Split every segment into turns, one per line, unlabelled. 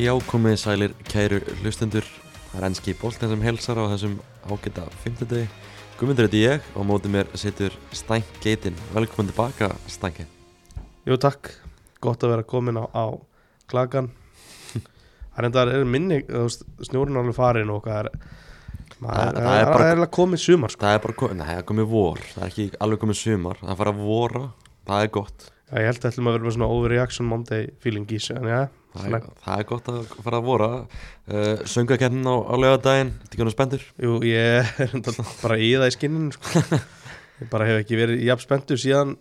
Já, komið sælir kæru hlustendur Það er enski bólten sem helsar á þessum ágæta 50 degi Guðmundur heiti ég og á móti mér situr Stænk Geitin Velkomin tilbaka, Stænki
Jú takk, gott að vera komin á, á klakan Það er enda er minni, þú veist, snjórun alveg farin og hvað er maður,
Það-
Það er bara er komið sumar sko.
Það er bara komið, það er komið vor Það er ekki alveg komið sumar, það er að fara að vora Það er gott
Já, Ég held að ætlum að vera með svona overreaction Monday feeling í sig en já,
Það
svona,
er, það er gott að fara að vora uh, Söngakennin á, á laugardaginn Þetta ekki hann spendur
Jú, ég er enda bara í það í skinninu sko. Ég bara hef ekki verið jafn spenntur síðan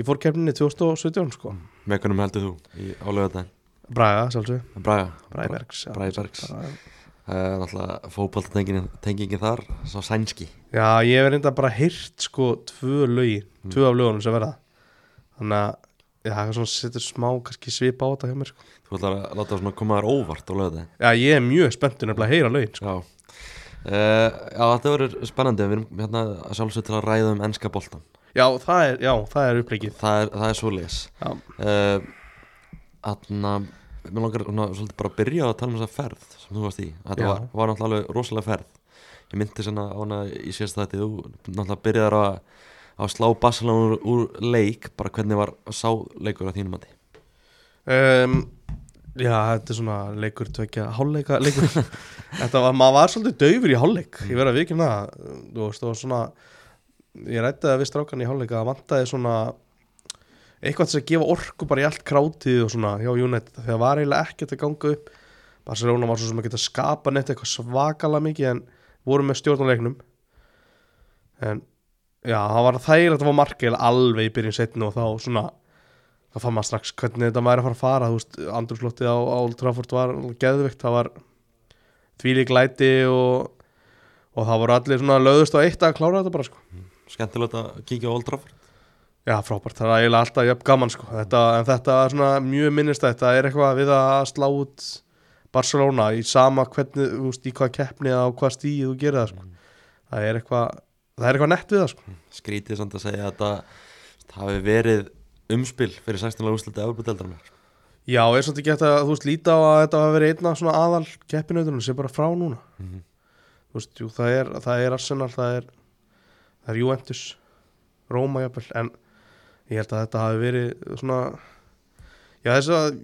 í fórkefninni 2017 sko.
Með hvernig heldur þú í, á laugardaginn
Braga, sjálfsög,
Braga
Bræbergs já.
Bræbergs Það er náttúrulega fótballtengingin þar Sá sænski
Já, ég hef reynda bara heyrt sko tvö lögin, tvö af lögunum sem verða þannig að já, það er svona setur smá kannski svipa á þetta hjá mér sko.
Þú ætlar að láta svona koma þér óvart á laugardaginn
Já, ég er mjög spenntur nefnilega að heyra lögin
Já,
sko.
uh, já þetta verður spennandi Við erum hérna að sjálfsög til að ræða um ennska boltan
Já, það er, já, það er uppleikið
Það er, það er svo leis
Já,
Þannig að Mér langar svona, svolítið bara að byrja að tala um þessa ferð sem þú varst í Þetta
Já.
var, var náttúrulega alveg rosalega ferð Ég myndi svona á hana í sérst þetta Þú náttúrulega byrjar að, að slá Barcelona úr, úr leik bara hvernig var sá leikur að þínum að því
um, já þetta er svona leikur tvekja hálfleika leikur Þetta var, maður var svolítið daufur í hálfleik ég verð að viðkynna það þú veist, það var svona ég rætti það við strákan í hálfleika að vantaði svona eitthvað til að gefa orku bara í allt krátið og svona hjá United þegar var eiginlega ekkert að ganga upp Barcelona var svo sem að geta skapa neitt eitthvað svakalega mikið en voru með stjórnuleiknum en já, það var þægilegt að það var markið alveg í byrjun setni og þá svona þá fann maður strax hvernig þetta væri að fara að fara þú veist, andrúrslóttið á, á Old Trafford var geðvikt, það var þvílík læti og og það voru allir svona löðust á eitt að klára þetta bara sko
Skemmtilegt að kíkja á Old Trafford
Já, frábært, það er eiginlega alltaf jöfn gaman sko þetta, En þetta er svona mjög minnist að þetta er eitthvað við að slá út Barcelona í sama hvernig, þú veist, í hvað keppni eða á hvað stíð þú gerir það sko Það er eitthvað, það er eitthvað nett við það sko
skrítið samt að segja að þetta hafi verið umspil fyrir 16. úrslitið Evropadeildarinnar
Já, er svolítið gett að, þú veist, líta á að þetta hafa verið einna svona aðal keppinautunum sem er bara frá núna
Mhm.
Þú veist, jú, það er, það er Arsenal, það er, það er Juventus, Róma jafnvel En ég held að þetta hafi verið svona, já þess að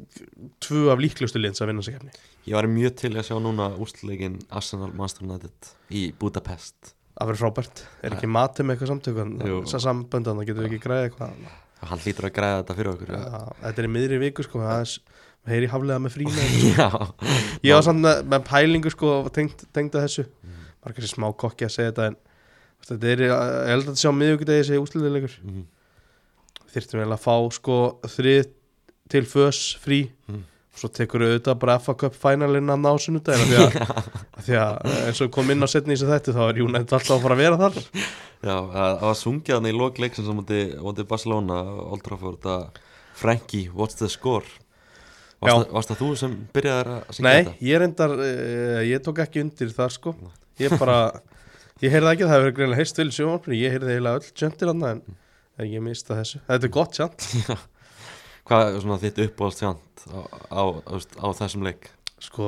tvö af líklustu liðin sem vinna sig keppni
Ég var mjög til að sjá núna úrslitleikin Arsenal Master United í Budapest
Það verður frábært, er ekki mati með eitthvað samtökun
Jú.
sem samböndan, það getur við ekki græðið eitthvað annað.
og hann hlýtur að græða þetta fyrir okkur
Já, Þetta er í miðri viku sko, það er s- við heyri haflega með frína
Já,
Ég var samt með, með pælingu sko tengd, tengd að þessu, var kannski smá kokki að segja þetta en þú veist, þetta er, í- ég held að þetta sé á miðvikudegi þessi úsliðilegur
Mhm.
þyrftum við að fá sko þrið til fös frí
Mhm.
og svo tekur við auðvitað bara FA Cup finalinn að ná sunnudagina því að, af því að eins og kom inn á setni í þessu þættu þá er Júnætt alltaf að fara að vera þar
Já, það það var sungið hann í lokleiksin sem móti, móti Barcelona Old Trafford að Frankie, what's the score?
Já.
Varst það- varst það þú sem byrjaði að syngja
Nei,
þetta?
ég reyndar, uh, ég tók ekki undir það sko Ég bara, ég heyrði ekki að það hefur greinlega heist til sjónvarpinu Ég heyrði eiginlega öll tjöndir hann en, en ég mista þessu Þetta er gott tjönd
Hvað er svona þitt uppáhaldstjant á, á, á, á þessum leik?
Sko,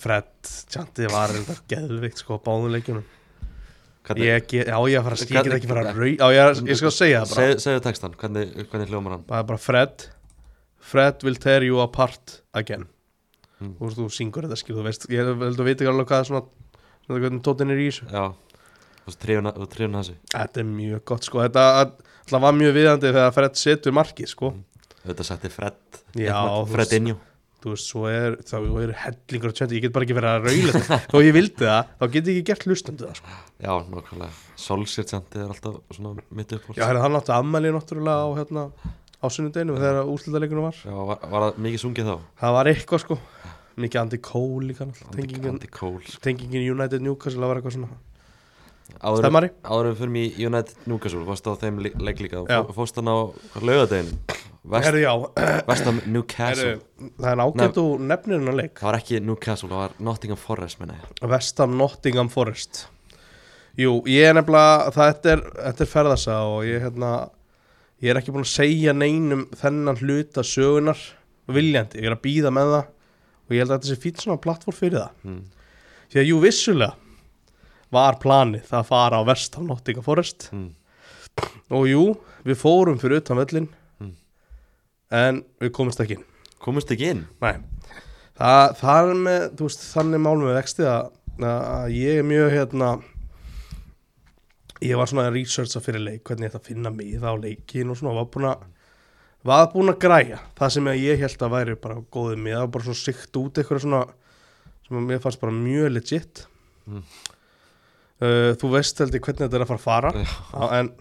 Fred tjöndi var reyndar geðvikt sko á báðum leikjunum
Hvernig-
Ég, get, já, ég fara að skýra
Hvernig-
ekki fara að rau Já, ég, ég skal segja það bara
Seg, segðu textan, hvernig, hvernig hljómar hann?
Það er bara Fred Fred will tear you apart again
Mm.
Þú veist, þú syngur þetta skil, þú veist Ég held að veit ekki alveg hvað svona Hvernig tóttin er í þessu
Já, og trífuna, og trífuna þessu
Þetta er mjög gott sko Þetta alltaf var mjög viðandi þegar Fred setur markið sko
Þetta setti Fred
Já, þú
Fred
veist.
Injó
Þú veist, svo er, þá er hellingur og tjöndi Ég get bara ekki verið að raula þetta Þó ég vildi það, þá get ég ekki gert lustundu það sko
Já, nákvæmlega Solskjert sendi er alltaf svona mitt uppáhalds
Já, hérna, hann átti ammæli náttúrulega á, hérna, á sunnudeginu Þegar úrslutaleikunum var
Já, var, var það mikið sungið þá?
Það var eitthvað sko Mikið Andy Cole líka náttúrulega, tengingin,
Andy Cole
tengingin United Newcastle Það var eitthvað svona
Áður
Stemmari?
áður en við fyrir í United Newcastle Fórst á þeim lí- leik líka
Já.
Fó- Fórst hann á laugadegin Vest,
Herru, já,
Vestam Newcastle
herru, það er ágætt og nefnir hennar leik
Það var ekki Newcastle, það var Nottingham Forest menna ég
Vestam Nottingham Forest Jú, ég er nefnilega þetta er, þetta er ferðasa og ég hérna, ég er ekki búin að segja neinum þennan hluta sögunar viljandi, ég er að býða með það og ég held að þetta sé fínt svona plattform fyrir það
mm.
því að jú vissulega var planið að fara á vest á Nottingham Forest
Mm.
og jú, við fórum fyrir utan völlin
Mm.
en við komumst ekki inn
komist ekki inn
Nei. Þa, það er með, þú veist, þannig mál með vexti að, að ég er mjög hérna ég var svona að researcha fyrir leik hvernig ég ætti að finna miða á leikin og svona var búin að var búin að græja það sem að ég held að væri bara góðið miða og bara svona sikt út eitthvað svona sem að mér fannst bara mjög legit
Mm.
uh, þú veist held ég hvernig þetta er að fara að fara
Já.
á, en,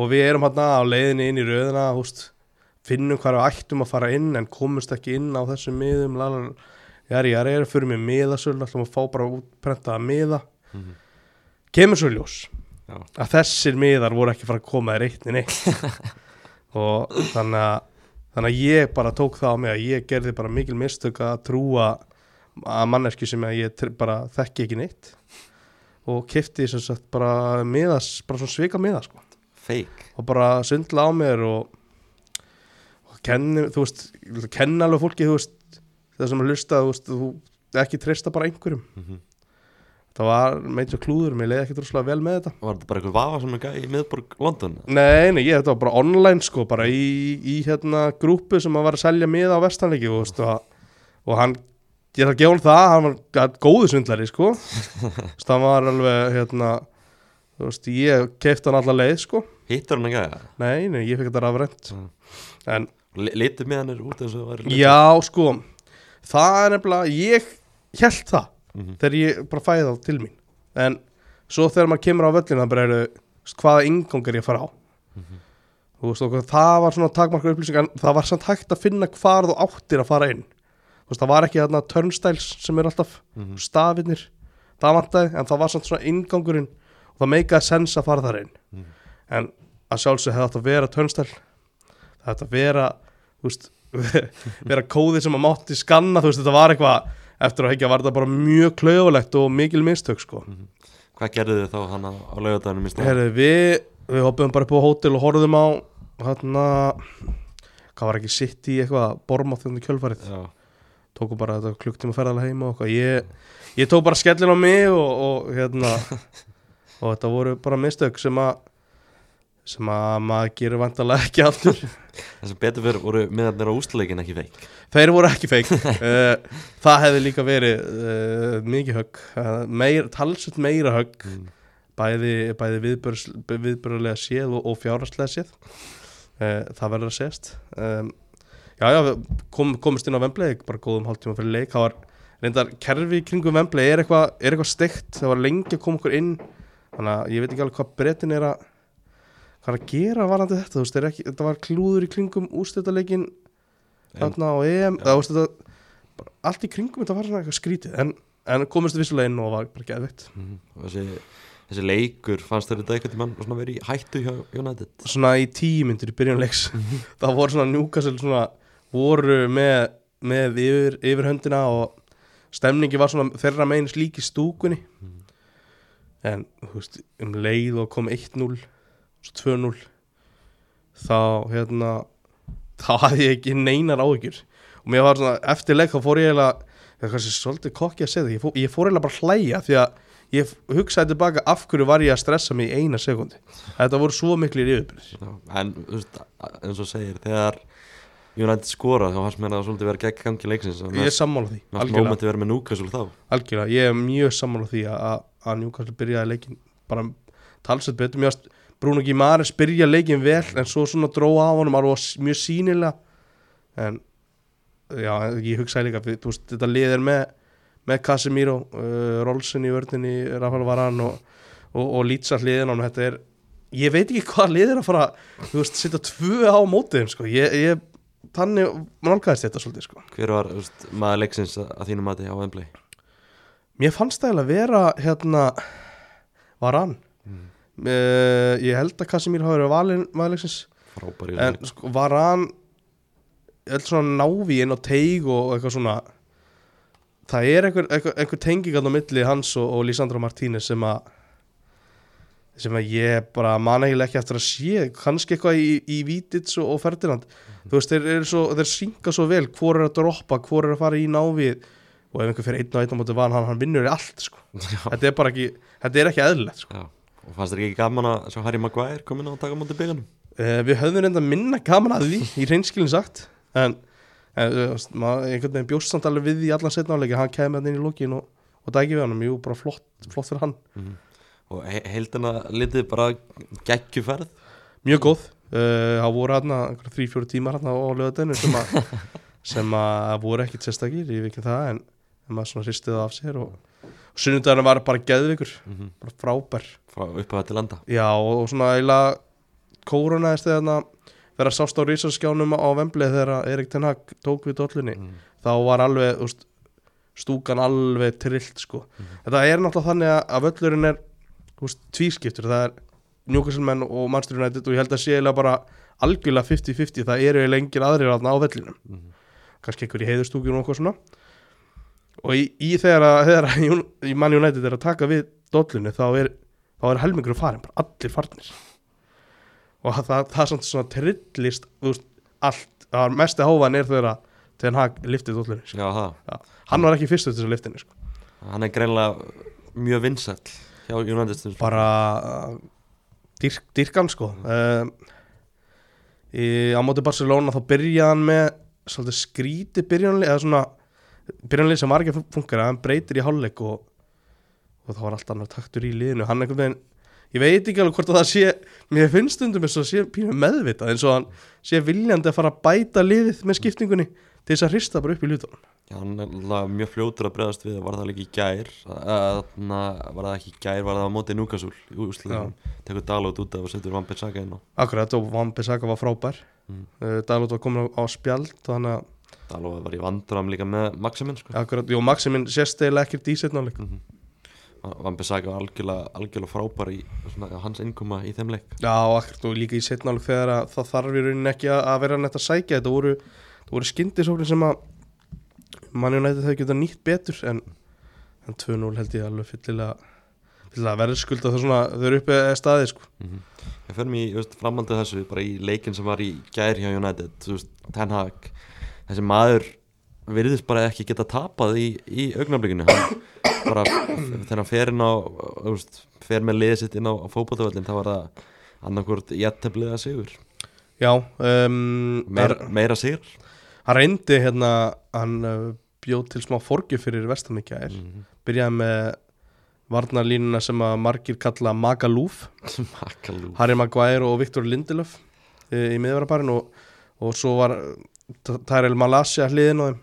og við erum hérna á leiðinni inn í röðina húst, finnum hvað við ættum að fara inn en komumst ekki inn á þessum miðum lalar, jari, jari, erum fyrir með miðasölu, ætlum að fá bara útprentaða miða
Mhm.
kemur svo í ljós
Já.
að þessir miðar voru ekki fara að koma þér eitt neitt og þannig að þannig að ég bara tók það á mig að ég gerði bara mikil mistök að trúa að manneski sem að ég tr- bara þekki ekki neitt og kefti sem sagt bara miðas, bara svona svika miða sko
fake
og bara sundla á mér og, og kenni, þú veist, ég vil kenna alveg fólki, þú veist, það sem að hlusta, þú veist, þú ekki treysta bara einhverjum.
Mhm.
Það var meitjum klúður, mér leiði ekkert rosalega vel með þetta.
var þetta bara eitthvað vafa sem er gæði í miðborg London
Nei, nei, ég, þetta var bara online sko, bara í, í hérna grúpu sem að var að selja miða á vestanleiki, þú veist, og, og hann, ég þarf að gefa hann það, hann var gat- góður svindlari, sko, þannig að hann var alveg, hérna, þú veist, ég keipti hann alla leið, sko,
hittur hann að gæða
nei, nei, ég fekk þetta rafrænt,
Mm.
en
litur með hann er út eins og það væri
Já, sko Það er nefnilega, ég held það
Mhm.
þegar ég bara fæði það til mín en svo þegar maður kemur á völlin það bara eru, þú veist, hvaða ingang er ég að fara á
Mhm.
Þú veist, og það var svona takmarka upplýsing en það var samt hægt að finna hvar þú áttir að fara inn Þú veist, það var ekki þarna turnstiles sem eru alltaf
Mhm.
stafinir, það vantaði en það var samt svona ingangurinn og það meikaði sens að fara þar inn
Mhm.
en að sjálfsög hefði átt að vera turnstile það hefði átt að vera þú veist, vera kóði sem að mátti skanna þú veist, þetta var eitthvað eftir á að hekja var þetta bara mjög klaufulegt og mikil mistök sko.
hvað gerðu þið þá hann á á laugardaginu minnst
Heru, við, við hoppum bara upp á hótel og horfðum á hérna hvað var ekki sitt í eitthvað bormátt þenni kjölfarið,
já
tókum bara þetta klukktíma ferðalega heima og eitthvað, ég, ég tók bara skellin á mig og, og hérna og þetta voru bara mistök sem að sem að maður gerir vandalega ekki aftur
Það sem betur fyrir voru miðarnir á úsleikin ekki veik
Þeir voru ekki feik uh, Það hefði líka verið uh, mikið högg uh, meir, talsett meira högg
Mm.
bæði, bæði viðbörs, viðbörulega séð og, og fjárhastlega séð uh, Það verður að séðst um, Já, já, við kom, komist inn á Vemblei bara góðum hálftíma fyrir leik það var reyndar kerfi í kringum Vemblei er eitthvað er eitthvað steikt, það var lengi að koma okkur inn þannig að ég veit ekki alveg hvað brettin er að hvað er að gera varandi þetta, þú veist, er ekki, þetta var klúður í kringum úrstöldaleikin
En-
þarna á EM það, veist, þetta, bara, allt í kringum þetta var svona eitthvað skrítið en, en komist vissulega inn og var bara geðveitt
Og þessi, þessi leikur fannst þér þetta eitthvað mann svona verið í hættu hjá United
svona í tíu myndir í byrjunleiks það voru svona njúkasel svona voru með, með yfir, yfirhöndina og stemningi var svona þeirra meins líki stúkunni en þú veist, um leið og kom 1-0 svo 2-0 þá hérna þá hafði ég ekki neinar áhyggjur og mér var svona eftir leik þá fór ég eiginlega það er kannski svolítið kokki að segja það ég fór, ég fór eiginlega bara að hlæja því að ég hugsaði tilbaka af hverju var ég að stressa mig í eina sekundi þetta voru svo miklir yfirbyrðir
Já, En þú veist, a- eins og segir þegar United skora þá fannst mér það svolítið verið gegn gangi leiksins og
ég er
næst-
sammála því,
næst
algjörlega,
mómenti verið með Newcastle þá
algjörlega ég er mjög sammála því að- að að Newcastle byrjaði leikin bara talsett betur mjög að Bruno Gimares byrja leikin vel en svo svona dróa á honum alveg s- mjög sínilega en já, ég hugsaði líka við, þú veist, þetta liðir með með Casemiro, uh, Rolsen í vördinni Rafael Varan og, og, og Lítsa hliðin ánum, þetta er ég veit ekki hvað liðir að fara þú veist, setja tvö á mótið þeim, sko ég, ég, þannig nálgæðist þetta svolítið, sko
Hver var þú veist, maður leiksins að að þínu mati á Wembley?
Mér fannst það eiginlega vera hérna var hann Eh,
Mm.
ég held að Kasimir hafi verið valinn maðurleiksins
Frábær í
en
þessu leik.
sko, var hann öll svona návi inn á teig og eitthvað svona það er einhver, einhver, einhver tenging hann á milli hans og, og Lísandra Martínez sem að sem að ég bara man eiginlega ekki eftir að sé kannski eitthvað í, í Vítits og, og Ferdinand þú veist, þeir, eru svo, þeir synga svo vel hvor er að droppa, hvor er að fara í návið og ef einhver fyrir einn og einn á móti van hann, hann vinnur í allt sko. þetta er bara ekki, þetta er ekki eðlilegt sko.
Já, og fannst þér ekki gaman að sjá Harry Maguire komin á að taka á móti bygganum?
uh, við höfðum reynda minna gaman að því í reynskilin sagt en, en uh, maður, einhvern veginn bjóst samt alveg við í allan setna áleika, hann kemur þetta inn í lókin og, og dæki við hann, jú, bara flott, flott fyrir hann
Og he heildina litið bara geggjuferð
mjög góð uh, það voru hérna þrý-fjóru tímar hérna á löðadennu sem að sem að voru ekkit sérstakir, ég veit ekki um það en, en maður svona hristið það af sér og, og sunnundarinn var bara geðvikur bara frábær,
frá upphæða til enda
já og, og svona eiginlega kórunaðist þegar þarna þegar það sást á rísaskjánum á Vemblið þegar að Erik Ten Hag tók við dollunni
Mhm.
þá var alveg úst, stúkan alveg trillt sko. þetta er náttúrulega þannig að- að völlurinn er úst, tvískiptur, það er Newcastle-menn og Manchester United og ég held að sé eiginlega bara algjörlega 50-50 það eru eiginlega engin aðrir aðna á vellinum
Mhm.
kannski einhver í heiðurstúkjum og eitthvað svona og í, í þegar að, þegar að Jún- í Man United er að taka við dollunni þá er, þá er helmingur farin, bara allir farnir og það, það, það er samt svona trillist þú veist, allt, það var mesti hávan er þegar að Ten Hag liftið dollunni sko.
Já, það,
hann var ekki fyrstu til þess að liftinni sko.
hann er greinlega mjög vinsall hjá United States
bara uh, dyrk, dyrkan sko. um, í, á móti Barcelona þá byrjaði hann með svolítið skríti byrjanlið eða svona byrjanlið sem var ekki að fungera hann breytir í hálfleik og, og það var allt annar taktur í liðinu hann einhvern veginn Ég veit ekki alveg hvort að það sé, mér finnst stundum eins og það sé pínu meðvitað eins og hann sé viljandi að fara að bæta liðið með skiptingunni til þess að hrista bara upp í lútunum.
Já, hann er náttúrulega mjög fljótur að bregðast við var það líka í gær Þannig að var það ekki í gær, var það á móti Núkasúl í úsliðum, tekur Dalot út af og setur Van Bissaka inn á
Akkurat og Van Bissaka var frábær
Mm.
mm. Dalot var komin á, á spjald þannig að
Dalot var í vandram líka með Maximin sko.
akkurat, jú, Maximin sést eiginlega ekkert í setna leik
Mhm. Van Bissaka var algjörlega, algjörlega frábær í svona, hans innkoma í þeim leik
Já, og akkurat og líka í setna leik þegar að, það þarf í rauninni ekki að, að vera nætt að sækja þetta voru, þetta voru skyndisóknir sem að manni nætti það geta nýtt betur en, en 2-0 held ég alveg fyllilega, fyllilega verðskulda það svona, þau eru uppi eða staði sko.
Mm. Ég fyrir mig, veist, framaldið þessu, bara í leikin sem var í gær hjá United, þú veist, Ten Hag, þessi maður virðist bara ekki geta tapað í, í augnablikinu, hann bara þegar hann fer inn á, þú veist, fer með liðið sitt inn á, á fótbollvöldin, þá var það annarkvort jættefliða sigur,
Já, um,
Meir, meira sigur.
hann reyndi hérna hann uh, bjóð til smá forgjöf fyrir vestamíkja er byrjaði með varnarlínuna sem að margir kalla Magaluf
Makalú.
Harry Maguire og Viktor Lindelöf e, í miðvarabarinn og, og svo var uh, T- Tyrell Malasia hliðin á þeim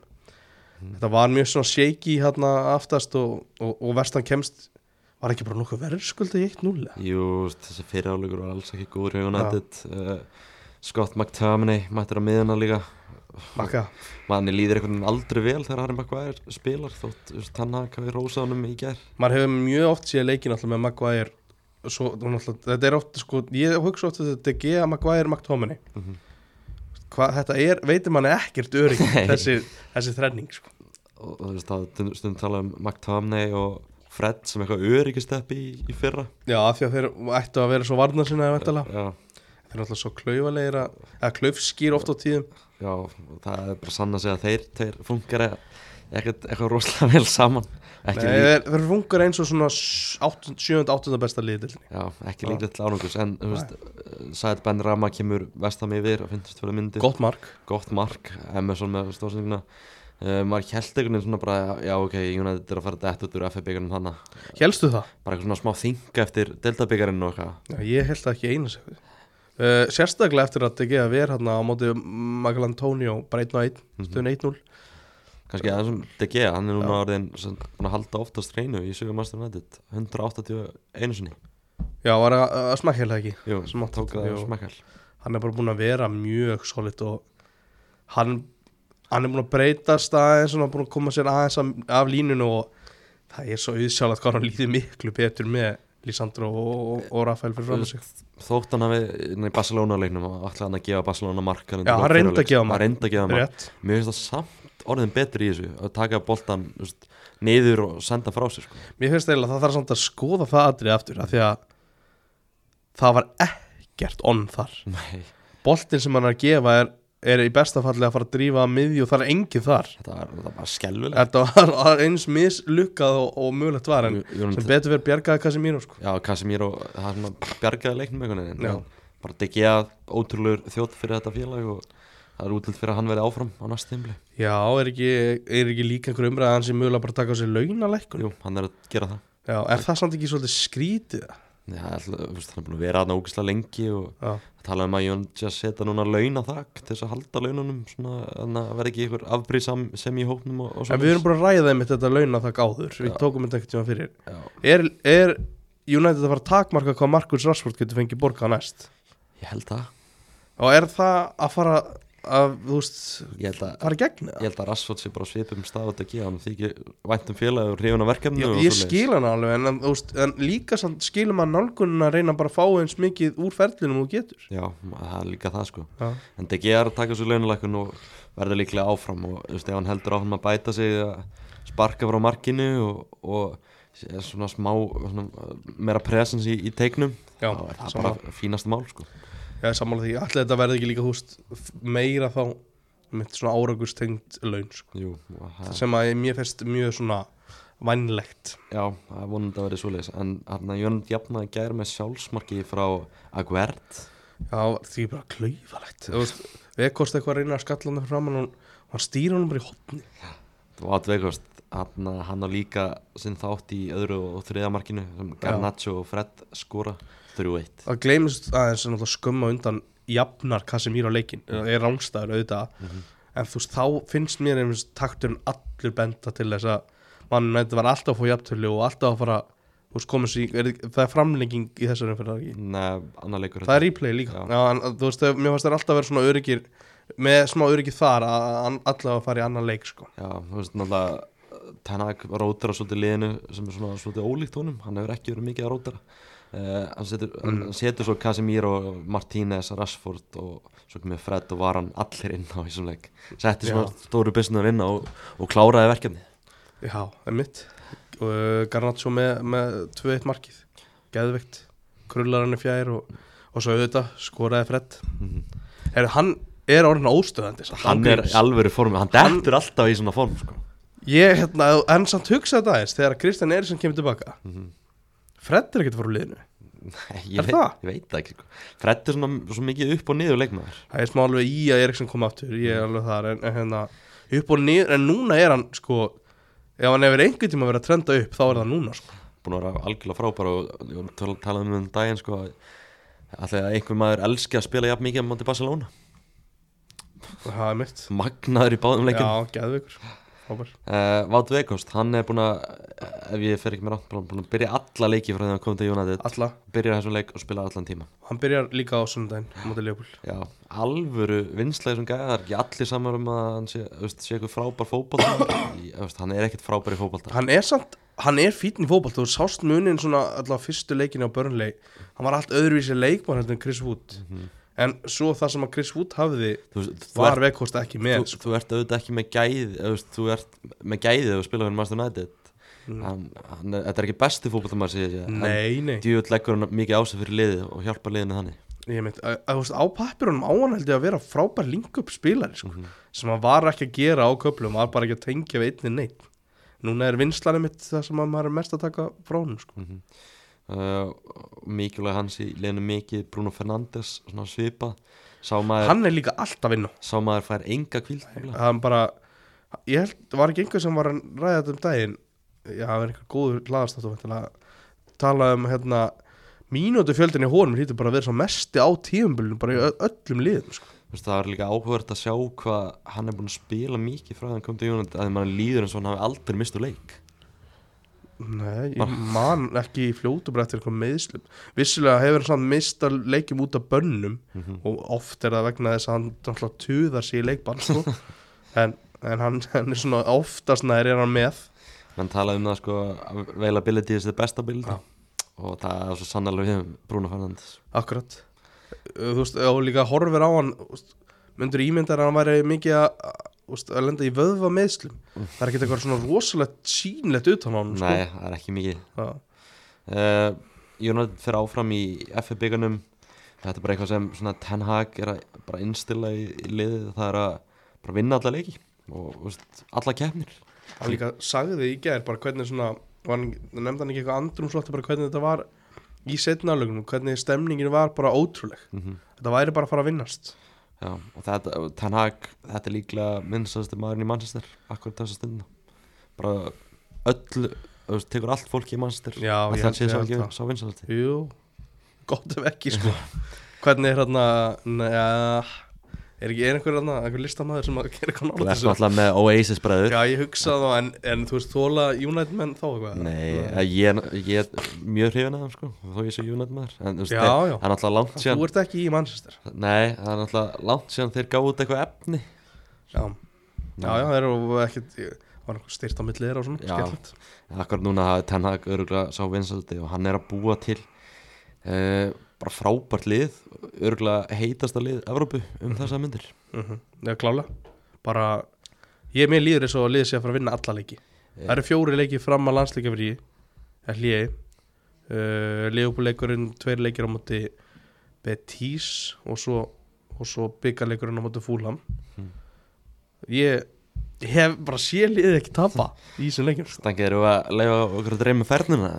þetta var mjög svona shaky hérna aftast og, og, og vestan kemst var ekki bara nokkuð verðskulda í 1-0 eða?
Jú, þú veist, þessi fyriráleikur var alls ekki góður hjá United, uh, Scott McTominay mættir á miðuna líka,
Maka,
manni líður einhvern veginn aldrei vel þegar Harry Maguire spilar þótt þannig að hafi rósað honum í gær
maður hefur mjög oft séð leikin alltaf með Maguire svo, hún alltaf, þetta er oft sko, ég hugsa oft að þetta er Gea, Maguire, McTominay mm
Mhm.
Hvað, þetta er, veitir manni ekkert örygg þessi, þessi þrenning sko.
og þú veist það stund- stundum talað um McTominay og Fred sem eitthvað öryggisteppi í, í fyrra
já, af því að þeir ættu að vera svo varnar sinna þeir
já,
eru alltaf svo klaufalegir að- eða klaufskýr oft á tíðum
já, og það er bara sann að segja að þeir, þeir funkar e-, ekkert eitthvað rosalega vel saman ekki,
Nei,
Nei,
þeir, þeir fungur eins og svona 7. 8. besta liðið
já, ekki líklegt til árangus en þú veist, Sæt Ben Rama kemur vestam yfir og finnst fyrir myndir
gott mark
gott mark, Emerson með stórsninguna Uh, maður held einhvern veginn svona bara já ok, United er að fara dætt út úr FF-byggarnum þannig
helstu það?
bara eitthvað svona smá þinga eftir deltabyggarinn og eitthvað
Já, ég held það ekki einu sekundu uh, Sérstaklega eftir að DG að vera hérna á móti Michael Antonio bara 1 og 1, stöðun 1-0
kannski aðeins um De Gea, hann er núna orðin sem búin að halda oftast reynu í sögum Master United 181 sinni
Já, var að, að smakka það ekki
Jú,
Sem átti-
tók það
jú.
smekkal
Hann er bara búin að vera mjög solid og hann, hann er búin að breytast aðeins og hann er búin að koma sér aðeins af, af línunu og það er svo auðsjálfat hvað hann líður miklu betur með Lísandro og, og, og Rafael fyrir
Mm.
fram sig
Þótt hann hafi inn í Barcelona leiknum og alltaf hann að gefa Barcelona mark
Já, hann reyndi að gefa mark.
mark, reynd gefa mark.
Rétt
Mér finnst það samt orðin betri í þessu að taka boltan þú veist, niður og senda frá sér sko.
Mér finnst eiginlega að það þarf samt að skoða það atrið aftur af því að það var ekkert onn þar
Nei,
boltin sem hann er að gefa er, er í besta falli að fara að drífa að miðju og það er engin þar
þetta var, þetta var bara skelvilegt
þetta var, var eins mislukkað og, og mögulegt var en
Jú- Jónatan-
sem betur verið bjargaði Casemiro sko.
Já, Casemiro, það er svona bjargaði leiknum einhvern veginn
Já.
En Bara degi að ótrúlegur þjótt fyrir þetta félag og það er útlöld fyrir að hann verði áfram á næsta tímli
já, er ekki, er ekki líka einhver umræðan hann sem mögulega bara að taka á sig launalækkun
Jú, hann er að gera það
já, er það samt ekki svolítið skrítið
Nei, það er alltaf- þú veist, hann er búin að vera aðna ógislega lengi og
já,
það tala um að Jón sé að setja núna launaþak til þess að halda laununum svona þannig að vera ekki ykkur afbrísam sem í hóknum og, og
en við erum bara að ræða einmitt þetta launaþak áður við
Já.
tókum þetta ekkert tíma fyrir
Já,
er, er United að fara að takmarka hvað Marcus Rashford getur fengið borgað næst
ég held það
og er það að fara að, þú veist,
Ég held að
fara gegn það
Ég held að Rassford sé bara á svipum stað og degi hann þykir væntum félag og hrifun af verkefni
ég,
og
ég
svoleiðis.
skil hann alveg en, en, þú veist, en líka samt skilum að nálgunin að reyna bara að fá eins mikið úr ferlinum og þú getur
Já, það er líka það sko
já,
En Degi er að taka svo launulækun og verður líklega áfram og þú veist, ef hann heldur áfram að bæta sig að sparka frá markinu og, og er svona smá svona, meira presens í, í teiknum
Já,
þá er það
sammála.
bara fínasta mál sko.
ég er sammála því allir þetta verði ekki líka þú veist, f- meira þá mitt svona áraugurstengt laun sko,
Jú, og það,
sem að mér fest mjög svona vannlegt
já, það er vonandi að vera svoleiðis en hann að Jörnund jafnaði gæri með sjálfsmarki frá Agvert
Já, því bara klaufalegt Þú veist, Við kosti eitthvað að reyna að skalla hann fram og hann stýra hann bara í hotni
og atveikost hann, hann á líka sinn þátt í öðru og þriða markinu sem Garnaccio og Fred skora 3-1
Það gleymist aðeins að skömmu undan jafnar Casemiro leikin er rángstæður auðvitað en þú veist, þá finnst mér einhvers takturinn allur benda til þess að mann þetta var alltaf að fá jafntölu og alltaf að fara þú veist, komast í, er, það er framlenging í þessari umfyrir ekki
Nei, annar leikur
það er replay líka
Já.
Já. en, þú veist, mér fannst það alltaf að vera svona öryggir með smá öryggi þar að að allavega að fara í annan leik sko.
Já, þú veist náttúrulega eh, Tenag rótara svolítið liðinu sem er svona svolítið ólíkt honum, hann hefur ekki verið mikið að rótara uh, hann, setur, mm. hann setur svo Casemiro, Martínez, Rashford og svo komið Fred og Varan allir inn á þessum leik, setti svona
Já.
stóru businar inn á og, og kláraði verkefni
Já, emitt uh, Garnaccio með, með 2-1 markið Geðveikt Krullar hann í fjær og, og svo auðvitað skoraði Fred er, Hann er orðin óstöðandi samt,
Mhm. hann er í
gríns.
alvöru formi, hann dettur alltaf í svona form sko.
Ég, hérna, en samt hugsaði þetta aðeins Þegar Kristján Eirísson kemur tilbaka
Mhm.
Fred er ekkert að fara úr liðinu
Nei,
Er
ég, veit,
það?
ég veit það ekki sko. Fred er svona svo mikið upp og niður leikmaður
Það er smá alveg í að Eriksson koma aftur Ég er alveg þar en, en, hérna, upp og niður, en núna er hann sko Ef hann hefur einhvern tíma verið að trenda upp Þá er það núna sko
búin að vera algjörlega frábær og ég var að tala um um daginn sko að alltaf einhver maður elski að spila jafn mikið á móti Barcelona
Það er mitt
magnaður í báðum leikin uh,
Já, geðveikur Frábær.
Vátu Ekost, hann er búin að ef ég fer ekki með rátt, bara búin að byrja alla leiki frá því að hann kom til United
Alla
byrja þessum leik og spila allan tíma
Hann byrjar líka á sundaginn mútið Leopold
Já, alvöru vinsla í þessum gæða það er ekki allir samar um að hann sé, þú veist, sé eitthvað frábær fótbolta Ég- þú veist, hann er ekkert frábær í fótbolta
Hann er samt, hann er fítn í fótboll Þú sást munin svona allavega fyrstu leikinni á Burnley Hann var allt öðruvísi leikmann heldur en Chris Wood En svo það sem að Chris Wood hafði
Þú, veist, þú
Var vekkost ekki með
þú,
sko.
þú ert auðvitað ekki með gæði þú, veist, þú ert með gæði þegar þú spila fyrir Master United hann, hann, er- þetta er ekki besti fótbolltamaður sem ég sé
Mm. Nei, nei
djúvill leggur hann mikið á sig fyrir liðið og hjálpar liðinu þannig
Ég mynd, að, að, þú veist, á pappirunum á hann heldur að vera frábær link-up spilari sko. Sem hann var ekki að gera á köplum Var bara ekki að tengja við einni neitt Núna er vinslanu mitt það sem að maður er mest að taka frá hann sko.
uh, mikilvæg hans í liðinu mikið Bruno Fernandes svona svipað sá maður,
Hann er líka alltaf inn á
sá maður fær enga kvíld nefnilega.
hann bara ég held, það var ekki einhver sem var að ræða þetta um daginn já, það var einhver góður laðastáttu tala um hérna mínútu fjöldin í honum hlýtur bara að vera svo mesti á tíumbulunum bara í ö- öllum liðum sko.
Þú veist, það var líka áhugavert að sjá hvað hann er búin að spila mikið frá þannig kom til Jónat að mann líður eins og hann hafi aldrei mistu leik
Nei, ég man ekki í fljótu bara eftir eitthvað meðslum vissulega hefur hann samt mista leikjum út af bönnum og oft er það vegna þess að hann náttúrulega tuðar sér í leikbann sko. en, en hann, hann er svona oftast nær er hann með
hann talaði um það sko availability is the best ability og það er svo sannlega við um Bruno Fernandes
Sko. Akkurat Þú veist, og líka horfir á hann þú veist, myndur ímyndar að hann væri mikið að, þú veist, að lenda í vöðva meðslum Það er ekki sko. eitthvað svona rosalegt sínlegt utan á hann
Nei, það er ekki mikið
sko.
uh, United fer áfram í FF byggunum þetta er bara eitthvað sem svona, Ten Hag er að bara innstilla í, í liðið það er að bara vinna alla leiki og þú veist, alla keppnir
hann líka sagði í gær bara hvernig svona og hann nefndi hann ekki eitthvað andrum svolítið bara hvernig þetta var í setnaflögunum hvernig stemningin var bara ótrúleg þetta væri bara að fara að vinnast
Já, og þetta, og Ten Hag, þetta er líklega minnstastir maðurinn í Manchester akkur þessa stundina bara öll, þú veist, tekur allt fólk í Manchester
Já,
Ætli
ég
hann
held-
sé
ég
sá
held
ekki
það.
sá vinsalasti
jú, gott ef ekki sko hvernig er hérna neða er ekki er einhver hérna einhver listamæður sem að gera eitthvað
Þú
nála
ert náttúrulega með Oasis bræður
já ég hugsa það en, en þú veist þóla United menn þá eitthvað
Nei, eh, ég, ég er mjög hrifin að þeim sko þó ég sé United maður en þú veist,
Já,
þeir-
já.
það er náttúrulega langt
þú
síðan
ert ekki í Manchester
Nei, það er náttúrulega langt síðan þeir gáðu út eitthvað efni
já, já, já það eru ekkert var einhver styrt á milli þeirra og svona
Já.
skemmtilegt
Akkur núna hafi Ten Hag öruglega sá vinsaldi og hann er að búa til uh, bara frábært lið öruglega heitasta lið Evrópu um þessa myndir
mm -hmm. Já, klála Bara, ég er mér líður eins og liðið sé að fara að vinna alla leiki Það eru fjóri leiki fram að landsleika fyrir Það er hliði uh, Leifupúleikurinn, tveir leikir á móti Betis og svo, og svo byggarleikurinn á móti Fúlham Ég ég hef bara sé liðið ekki tapa í þessum leikjum sko.
Þannig erum við að leifa okkur að dreyma um fernuna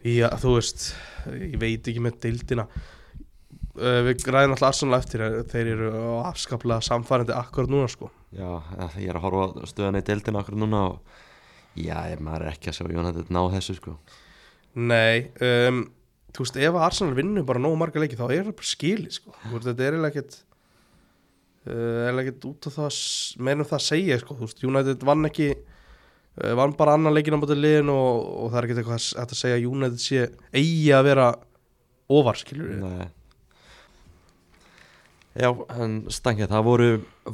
Já, þú veist, ég veit ekki með deildina uh, Við græðum alltaf Arsenal á eftir Þeir eru afskaplega samfærandi akkurat núna sko
Já, eh, ég er að horfa á stöðan í deildina akkur núna og já, ég- maður er ekki að sjá United ná þessu sko
Nei, um, þú veist, ef að Arsenal vinnur bara nógu marga leiki þá er það bara skili, sko. Þú veist, þetta er eiginlega ekkert, uh, eiginlega ekkert út af það, meðan það að segja, sko. Þú veist, United vann ekki, uh, vann bara annan leikin á bótið liðin og, og það er ekkert eitthvað hægt að segja að United sé eigi að vera ofar, skilur við.
Nei. Já, en stangið, það voru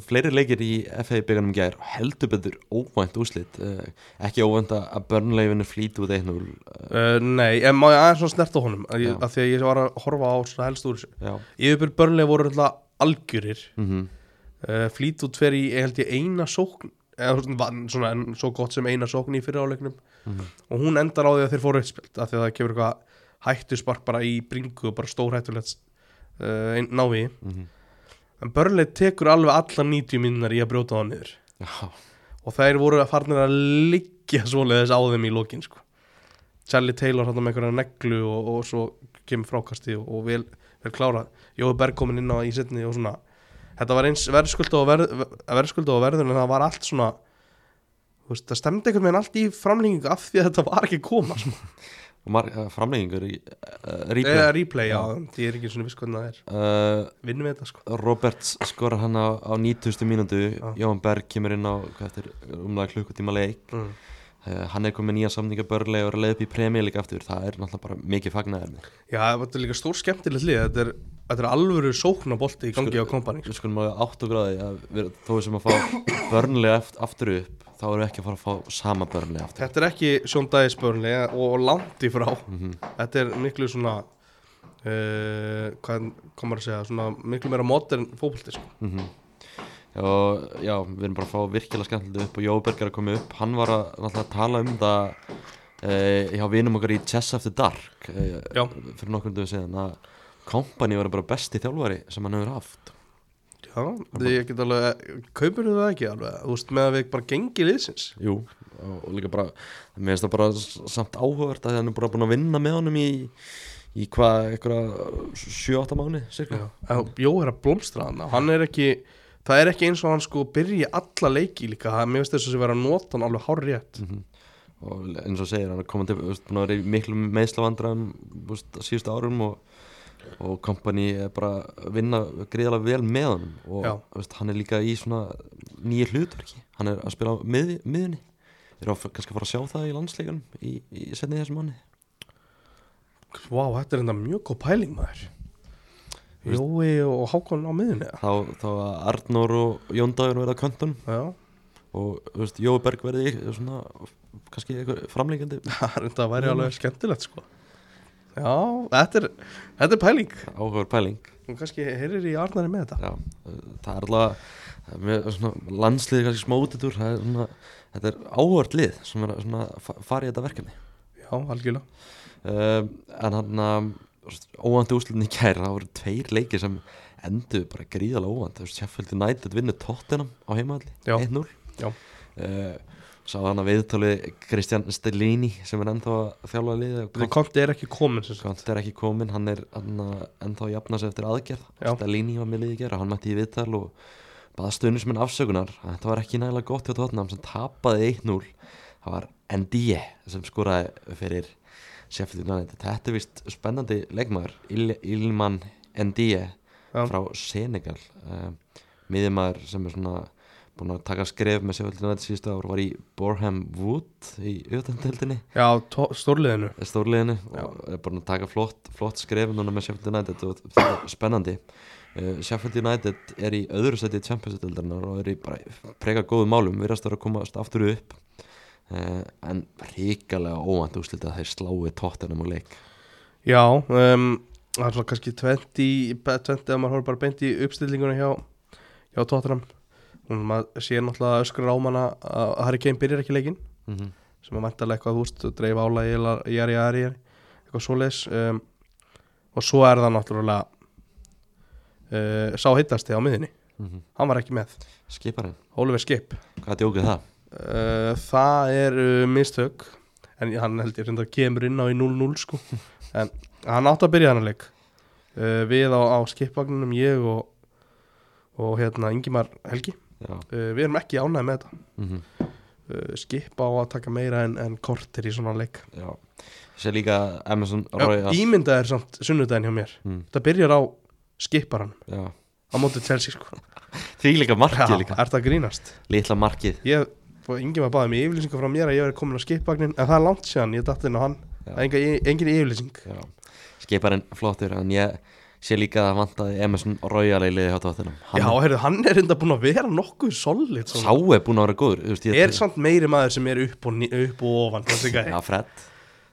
fleiri leikir í FA byggunum gær og heldur betur óvænt úslit eh, ekki óvænt að- að Burnley vinnur flýt út 1-0 eh,
Uh, nei, en má ég aðeins svona snerta á honum,
Já.
að, ég, að því að ég var að horfa á svona helst úr þessu.
Já,
Yfirbyrð börnlega voru alltaf algjörir,
mm
uh, Fleetwood fer í, ég held ég, eina sókn eða svona, vann svona en, svo gott sem eina sókn í fyrir áleiknum
mhm,
og hún endar á því að þeir fóru uppspilt af því að það kemur eitthvað hættuspark bara í bringu og bara stórhættulegt uh, návi
mhm.
en Börnlei tekur alveg alla 90 minnar í að brjóta það niður
já,
og þær voru að farnir að liggja svoleiðis á þeim í lokin sko. Charlie Taylor hann með einhverja neglu og, og svo kemur frákasti og, og vel, vel klárað Jói Berg komin inn á í setni og svona þetta var eins verðskulda og, verð, verðskulda og verður en það var allt svona þú veist, það stemdi einhvern veginn allt í framlengingu af því að þetta var ekki að koma sko.
og mar- eh, framleggingur í uh, Rípjö
eða replay, já, því er ekki svona viss hvernig það er
uh,
vinnum við þetta sko
Roberts skorar hann á, á 90. mínútu
Já.
Jóhann Berg kemur inn á hvað eftir umlega klukkutíma leik
mm.
uh, hann er komið nýja samninga Burnley og er að leiða upp í premjö líka aftur það er náttúrulega bara mikið fagnaðar með
já, þetta er líka stór skemmtilegt lið þetta er, þetta er alvöru sóknabolti í gangi á kompani
Við skulum að átt og gráði að við, þó við sem að fá börnlega aftur upp þá erum við ekki að fara að fá sama börnlega aftur
Þetta er ekki sjóndæðisbörnli eh, og langt í frá Þetta er miklu svona uh, hvað komar að segja svona miklu meira modern fótbolti sko.
og já, við erum bara að fá virkilega skemmtilega upp og Jóberg er að koma upp hann var að náttúrulega tala um það e, hjá vinum okkar í Chess After Dark e,
Já.
fyrir nokkur dögum síðan að Kompany var bara besti þjálfari sem hann hefur haft
Já, því ég get alveg kaupir það ekki alveg, þú veist með að við bara gengi liðsins
Jú, og, og líka bara mér finnst það bara s- samt áhugavert að hann er bara búin að vinna með honum í í hvað, eitthvað 7-8 mánu, cirka
En Jó er að blómstra hann og hann er ekki það er ekki eins og hann sko byrji alla leiki líka, það, mér finnst þess að vera að nota hann alveg hár rétt
og eins og segir hann er komin til þú veist, búin að vera í miklu meðslavandram síðustu árum og, og kompani er bara að vinna greiðalega vel með honum og
Já.
þú veist, hann er líka í svona nýju hlutverki hann er að spila á mið, miðunni Þeir eru að f- kannski að fara að sjá það í landsleikunum í, í setni þessum manni
Vá, þetta er enda mjög góð pæling maður Jói og Hákon á miðunni
þá, þá að Arnór og Jón Dagur verða á köntunum
Já,
og þú veist, Jóberg verði svona kannski einhver framlíkandi
Það er- það væri alveg skemmtilegt sko Já, þetta er, þetta er pæling
áhugaður pæling
og kannski heyrir í Arnari með þetta
Já, uh, það er allavega með svona landsliði kannski smá útidur það er svona, þetta er áhört lið sem er að svona fa- fara í þetta verkefni
Já, Já, algjörlega
uh, en hann um, að óvandi úslinni kæra, það voru tveir leikir sem endur bara gríðalega óvandi þú veist, Sheffield United vinnur Tottenham á heimaðalli,
Já.
1-0
Já.
Eh, sá hann að viðtali Kristján Stellini sem er ennþá að þjálfa liðið og
Þetta konti er ekki komin sem sagt.
Kant er ekki kominn, hann er hann, að- ennþá að jafna sig eftir aðgerð
Já.
Stalini var með liðið gera, hann mætti í viðtal og baða stöðnismenn afsökunar að þetta var ekki nægilega gott hjá Tottenham sem tapaði 1-0, það var NDE sem skoraði fyrir Sheffield United, þetta er vist spennandi leikmaður, Il Ilman NDE
Já.
frá Senegal uh, miðjumæður sem er svona búin að taka skref með Sheffield United síðustu ár var í Borham Wood í auðvitaðdeldinni
Já, tó- stórliðinu
stórliðinu
Já.
og er búin að taka flott, flott skref núna með Sheffield United og það er spennandi uh, Sheffield United er í öðru sæti í Champions-deldarnar og er í bara prega góðum málum, virðast vera að komast aftur upp uh, en ríkalega óvænt úslita að þeir sláu tóttunum og leik
Já, um, það er svona kannski 20, 20 ef maður horfður bara beint í uppstillinguna hjá, hjá Tottenham og maður sér náttúrulega öskra rámana að Harry Kane byrjar ekki leikinn
mm
sem er mæntalega eitthvað þú veist, dreif álægi jari, jari, jari, eitthvað svoleiðis um, og svo er það náttúrulega uh, sá hittasti á miðinni,
-hmm.
hann var ekki með
Skiparinn,
Oliver Skip
hvað djókið það?
uh, það eru mistök en hann held ég reynda kemur inn á í 0-0 sko en hann átt að byrja hann að leik uh, við á, á skipvagninum ég og, og hérna Ingimar Helgi
Já,
uh, við erum ekki ánægð með þetta
mm
uh, skip á að taka meira en, en kortir í svona leik
Já. Ég sé líka Emerson
Já,
Royal
ímyndað er samt sunnudaginn hjá mér
Mm.
þetta byrjar á skiparan
Já.
á móti Chelsea sko
Því líka markið líka,
er það grínast
litla markið
ég, og Ingimar baði mig yfirlýsingar frá mér að ég verið komin á skipvagnin en það er langt séðan, ég datt inn á hann
Já.
það er enga- engin yfirlýsing
Já. Skiparinn flottur en ég sé líka að það vantaði Emerson Royal í liði hjá tóttunum
Já, heyrðu, hann er enda búin að vera nokkuð solid
Sá er búin að vera góður þú veist, ég-
Er samt meiri maður sem er upp og, ni- upp og ofan þessi gæi?
Já, Fred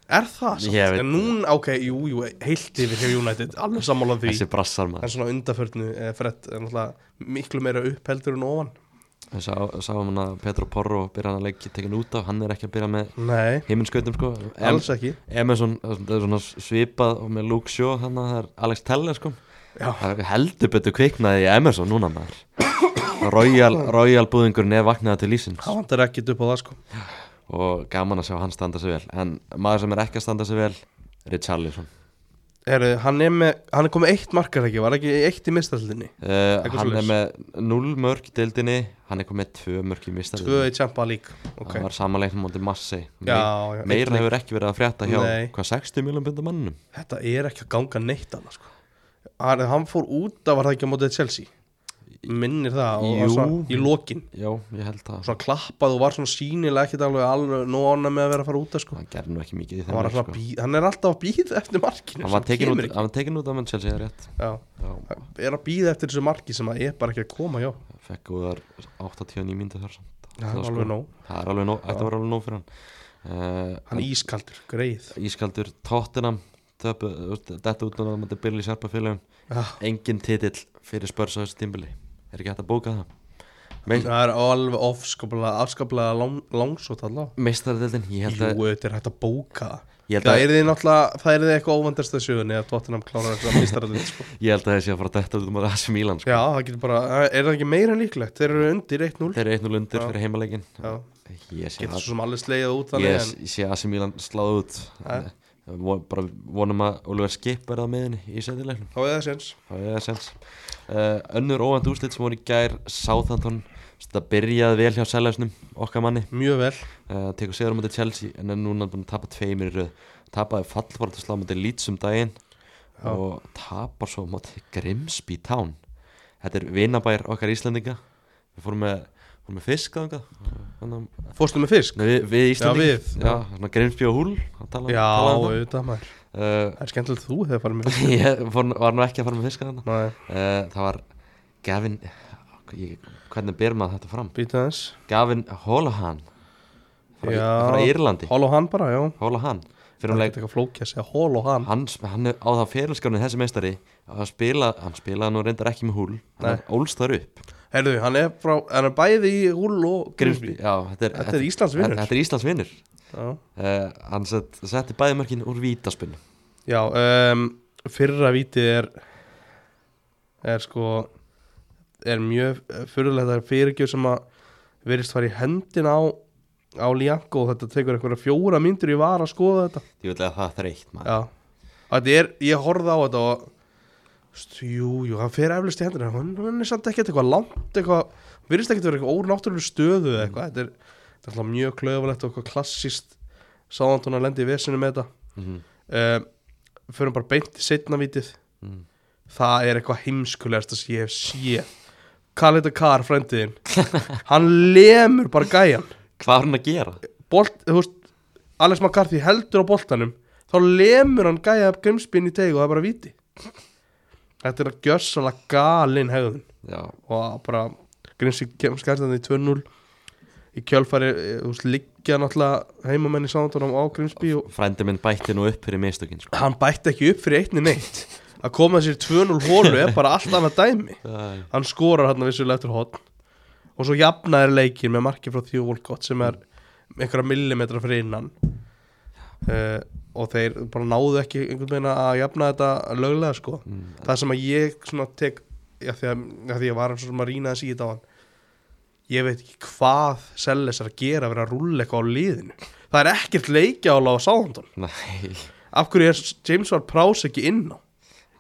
Er það samt?
Ég veit-
En núna, ok, jú, jú, heilt yfir hjá United Alveg sammála því
Þessi brassar maður
En svona undaförnu eh, Fred er náttúrulega miklu meira upp heldur en ofan
Við sá, sáum hann að Petro Porro byrja hann að leikja tekin út af Hann er ekki að byrja með
Nei,
heiminskautum sko em,
alls ekki
Emerson, það er svona svipað og með Luke Shaw hann að það er Alex Teller sko
Já.
Það er heldur betur kviknaði í Emerson núna maður Royal, Royal búðingurinn er vaknaði til lísins
Hann vantar ekki upp á það sko
og gaman að sjá hann standa sig vel en maður sem er ekki að standa sig vel Richarlison
Heyrðu, hann er, með, hann er komið eitt markar ekki Var ekki eitt í mistaldinni
uh,
Eitthvað
hann er
svoleiðis.
með 0 mörg í deildinni hann er komið með 2 mörg í mistarðinni
Tvö í Champa League Ok,
það var samanleiknum mútið massi
já, já einn
meira
leik.
hefur ekki verið að frétta hjá
Nei.
hvað 60 miljón pundar mannum
Þetta er ekki að ganga neitt annað sko. hann, hann fór út að var það ekki á mótið Chelsea Minnir það og,
Jú.
og svona, í lokin
já, ég held það
Svona klappað og var svona sínilega ekkert alveg alveg nóna með að vera að fara út af, sko.
hann gerði nú ekki mikið í
hann,
þeim
var
leik, sko.
alltaf að bíð, hann er alltaf að býða eftir markinu
hann var
sem
tekin
kemur
út,
ekki.
hann var tekin út af mann Chelsea það er rétt
Já,
já,
hann er að býða eftir þessu marki sem að er bara ekki að koma já,
fekk góðar 89 myndir þar samt
það er
sko.
alveg nóg
það er alveg nóg, þetta var alveg nóg fyrir Eh, hann
hann er ískaldur, greið
Ískaldur Tottenham töpu, þetta út núna þetta byrli sérpa félagum
Já.
engin titill fyrir spörs á þessu tímbili er ekki hægt að bóka það Me
það er alveg ofskaplega afskaplega lang, langsótt allavega
meistaradeldin, ég held að
Jú, þetta er hægt að bóka
Ég held
það
að-
er þið náttúrulega, það er þið eitthvað óvandast að sjöðunni að Tottenham klárar þetta mistaralinn sko.
ég held að þessi að fara að detta út um að það sem Ílan sko.
Já, það getur bara, er það ekki meira en líklegt? Þeir eru undir 1-0
þeir eru einn og lundir
Já.
fyrir heimalegin
Já,
ég sé
getur
að
svo sem allir slegið út þannig
ég sé að sem Ílan sláð út
Já.
Ég von- bara vonum að Oliver Skip verða með henni í setilegnum
en þá er það séns
Það er sens uh, Önnur óvænt úrslit sem voru í gær Southampton, þetta byrjaði vel hjá seljausnum okkar manni
Mjög vel
uh, tekur sigur á mútið Chelsea en er núna búin að tapa tveimir í röð tapaði fallvart að slá mútið Leeds um daginn
Já.
og tapar svo mútið Grimsby Town þetta er vinabær okkar Íslendinga við fórum með, fórum með fisk þangað. Þannig að-
Fórstu með fisk?
Nei, við, við Íslendinga
við, já.
já, svona Grimsby og Hull að tala,
Já,
tala um það.
auðvitað maður
Uh,
Það er skemmtilegt að þú hefur farið með fisk
ég fór, var nú ekki að fara með fiska þarna
Nei,
uh, það var Gavin ég, hvernig ber maður þetta fram
býta þess
Gavin Holahan frá,
Já.
frá Írlandi
Hól og hann bara, já
Holahan fyrir um
Það er
leik
ekki eitthvað flókja að segja hól og hann
hann, hann er á það fyrirskjáni þessi meistari að spila, hann spilaði nú reyndar ekki með húl hann ólst þar upp
Herðu, hann er frá, hann er bæði í húl og Grimsby
já, þetta er,
Þetta er Íslands vinur.
þetta er Íslands vinnur
já,
uh, hann set, setti bæði mörkin úr vítaspinn
já um, fyrra vítið er er sko er mjög fyrirlegt að fyrirgjöf sem að verist fara í höndin á á Lianko og þetta tekur eitthvað fjóra myndir ég var að skoða þetta
ég vil að það er þreytt maður
já, þetta er, ég horfði á þetta og st- jú, jú, hann fer eflust í hendur hann hann er samt ekkert eitthvað langt eitthvað, virðist ekkert vera eitthvað ónáttúrulega stöðu eða eitthvað, þetta er, þetta er alltaf mjög klöfulegt og eitthvað klassist sáðantón að lendi í vesinu með þetta
mm
uh, förum bara beint í setnavítið
Mm.
það er eitthvað heimskulegast að ég hef séð Kalita Kar, frændiðin hann lemur bara gæjan
hvað var hann að gera?
Bolt, þú veist, Alex McCarthy heldur á boltanum þá lemur hann gæja upp grimspinn í teg og það er bara viti þetta er að gjössalega galin hegðun
já,
og bara grimsi kemst gæstandi í 2-0 í kjölfari, eh, þú veist, liggja náttúrulega heimamenn í sándunum á Grimsby og
frændi minn bætti nú upp fyrir mistökin sko.
hann bætti ekki upp fyrir einni neitt að koma sér 2-0 hólu er bara allt annað dæmi
Æ,
hann skorar hann vissulega eftir hotn og svo jafnaðir leikin með marki frá Theo Walcott sem er einhverja millimetra fyrir innan uh, og þeir bara náðu ekki einhvern veginn að jafna þetta löglega sko
mm,
það sem að ég svona tek já, því, að, já, því að var svona að rýna þessi í þetta á hann ég veit ekki hvað Selles er að gera að vera að rúlla eitthvað á liðinu það er ekkert leikjála á Sáðandón
nei,
af hverju er James Ward Prowse ekki inn á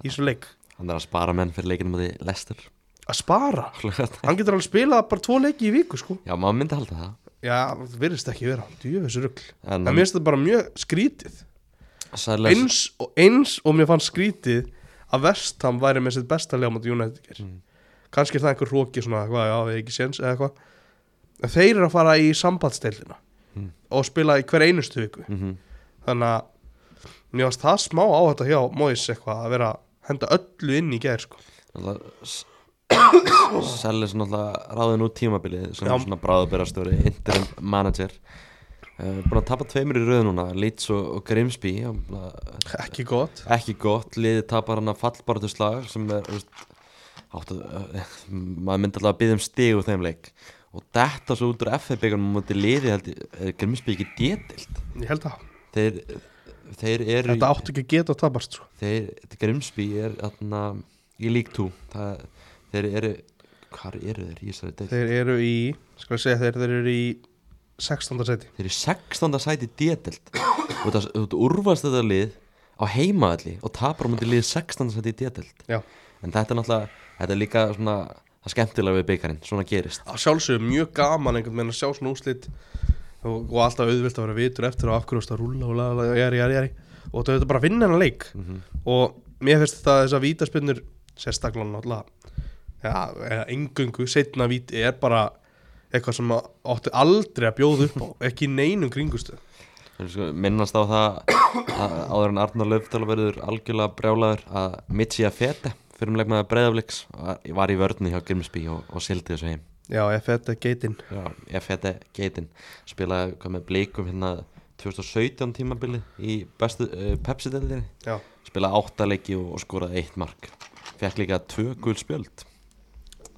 í svo leik
hann er að spara menn fyrir leikinum á því lestur
að spara hann getur alveg spilað bara tvo leiki í viku sko
já, maður myndi halda það
já, það virðist ekki vera djöfis rugl
En-
en mér finnst þetta bara mjög skrítið
Sæles,
eins og, eins og mér fannst skrítið að Vestham væri með sitt besta lega mot United ger kannski er það einhver róki svona hvað, já, við ekki séns eða eitthvað En þeir eru að fara í sambandsteilina
Mm.
og spila í hver einustu viku
mm
þannig að mér finnst það smá á þetta hjá Mois eitthvað að vera að henda öllu inn í gær sko
Sælis náttúrulega ráðin út tímabilið sem
Já.
svona bráðubyrjastöri interim manager uh, búin að tapa tveimur í röð núna Leeds og, og Grimsby og bara-
ekki gott
ekki gott, liðið tapar hann að fallbaratu slag sem er þú veist, áttu, uh, maður myndi alltaf að byggja um stig úr þeim leik og þetta svo út úr FF-byggunum mútið liðið held ég Grimsby ekki détilt
ég held að
þeir, þeir eru
þetta áttu ekki að geta að tapast sko.
þeir, Grimsby er atna, í lík 2 Það- þeir eru hvar eru þeir í þessari deild?
þeir eru í skal ég segja þeir, þeir eru í 16. seti
þeir eru í 16. sæti détilt og það, það úrvast þetta lið á heimaðalli og tapar á mútið liðið 16. sæti détilt
já
en þetta er náttúrulega, þetta er líka svona það skemmtilega við byggarinn, svona gerist
að sjálfsögum mjög gaman einhvern veginn að sjá svona úslit og, og alltaf auðvilt að vera vitur eftir og af hverju varstu að rúlla og laga, jari, jari, jari og þetta er bara að vinna hennar leik og mér finnst þetta þess að vítaspinnur sérstaklega náttúrulega ja, eða engöngu, setna víti er bara eitthvað sem að- áttu aldrei að bjóða upp á, ekki í neinum kringustu
Þeir sko, minnast á það að áður en Arnar Löfdal verður algjörlega brjálaður að Mitchia Fete fyrir um leikmaður Breiðafliks var í vörðni hjá Grimsby og, og sildi þessu heim
já, ef þetta er geitin
Já, Fete Geitin spilaði hvað með blíkum hérna 2017 tímabili í bestu uh, Pepsi-deldinni
já.
spilaði áttaleiki og, og skoraði eitt mark fekk líka tvö gul spjöld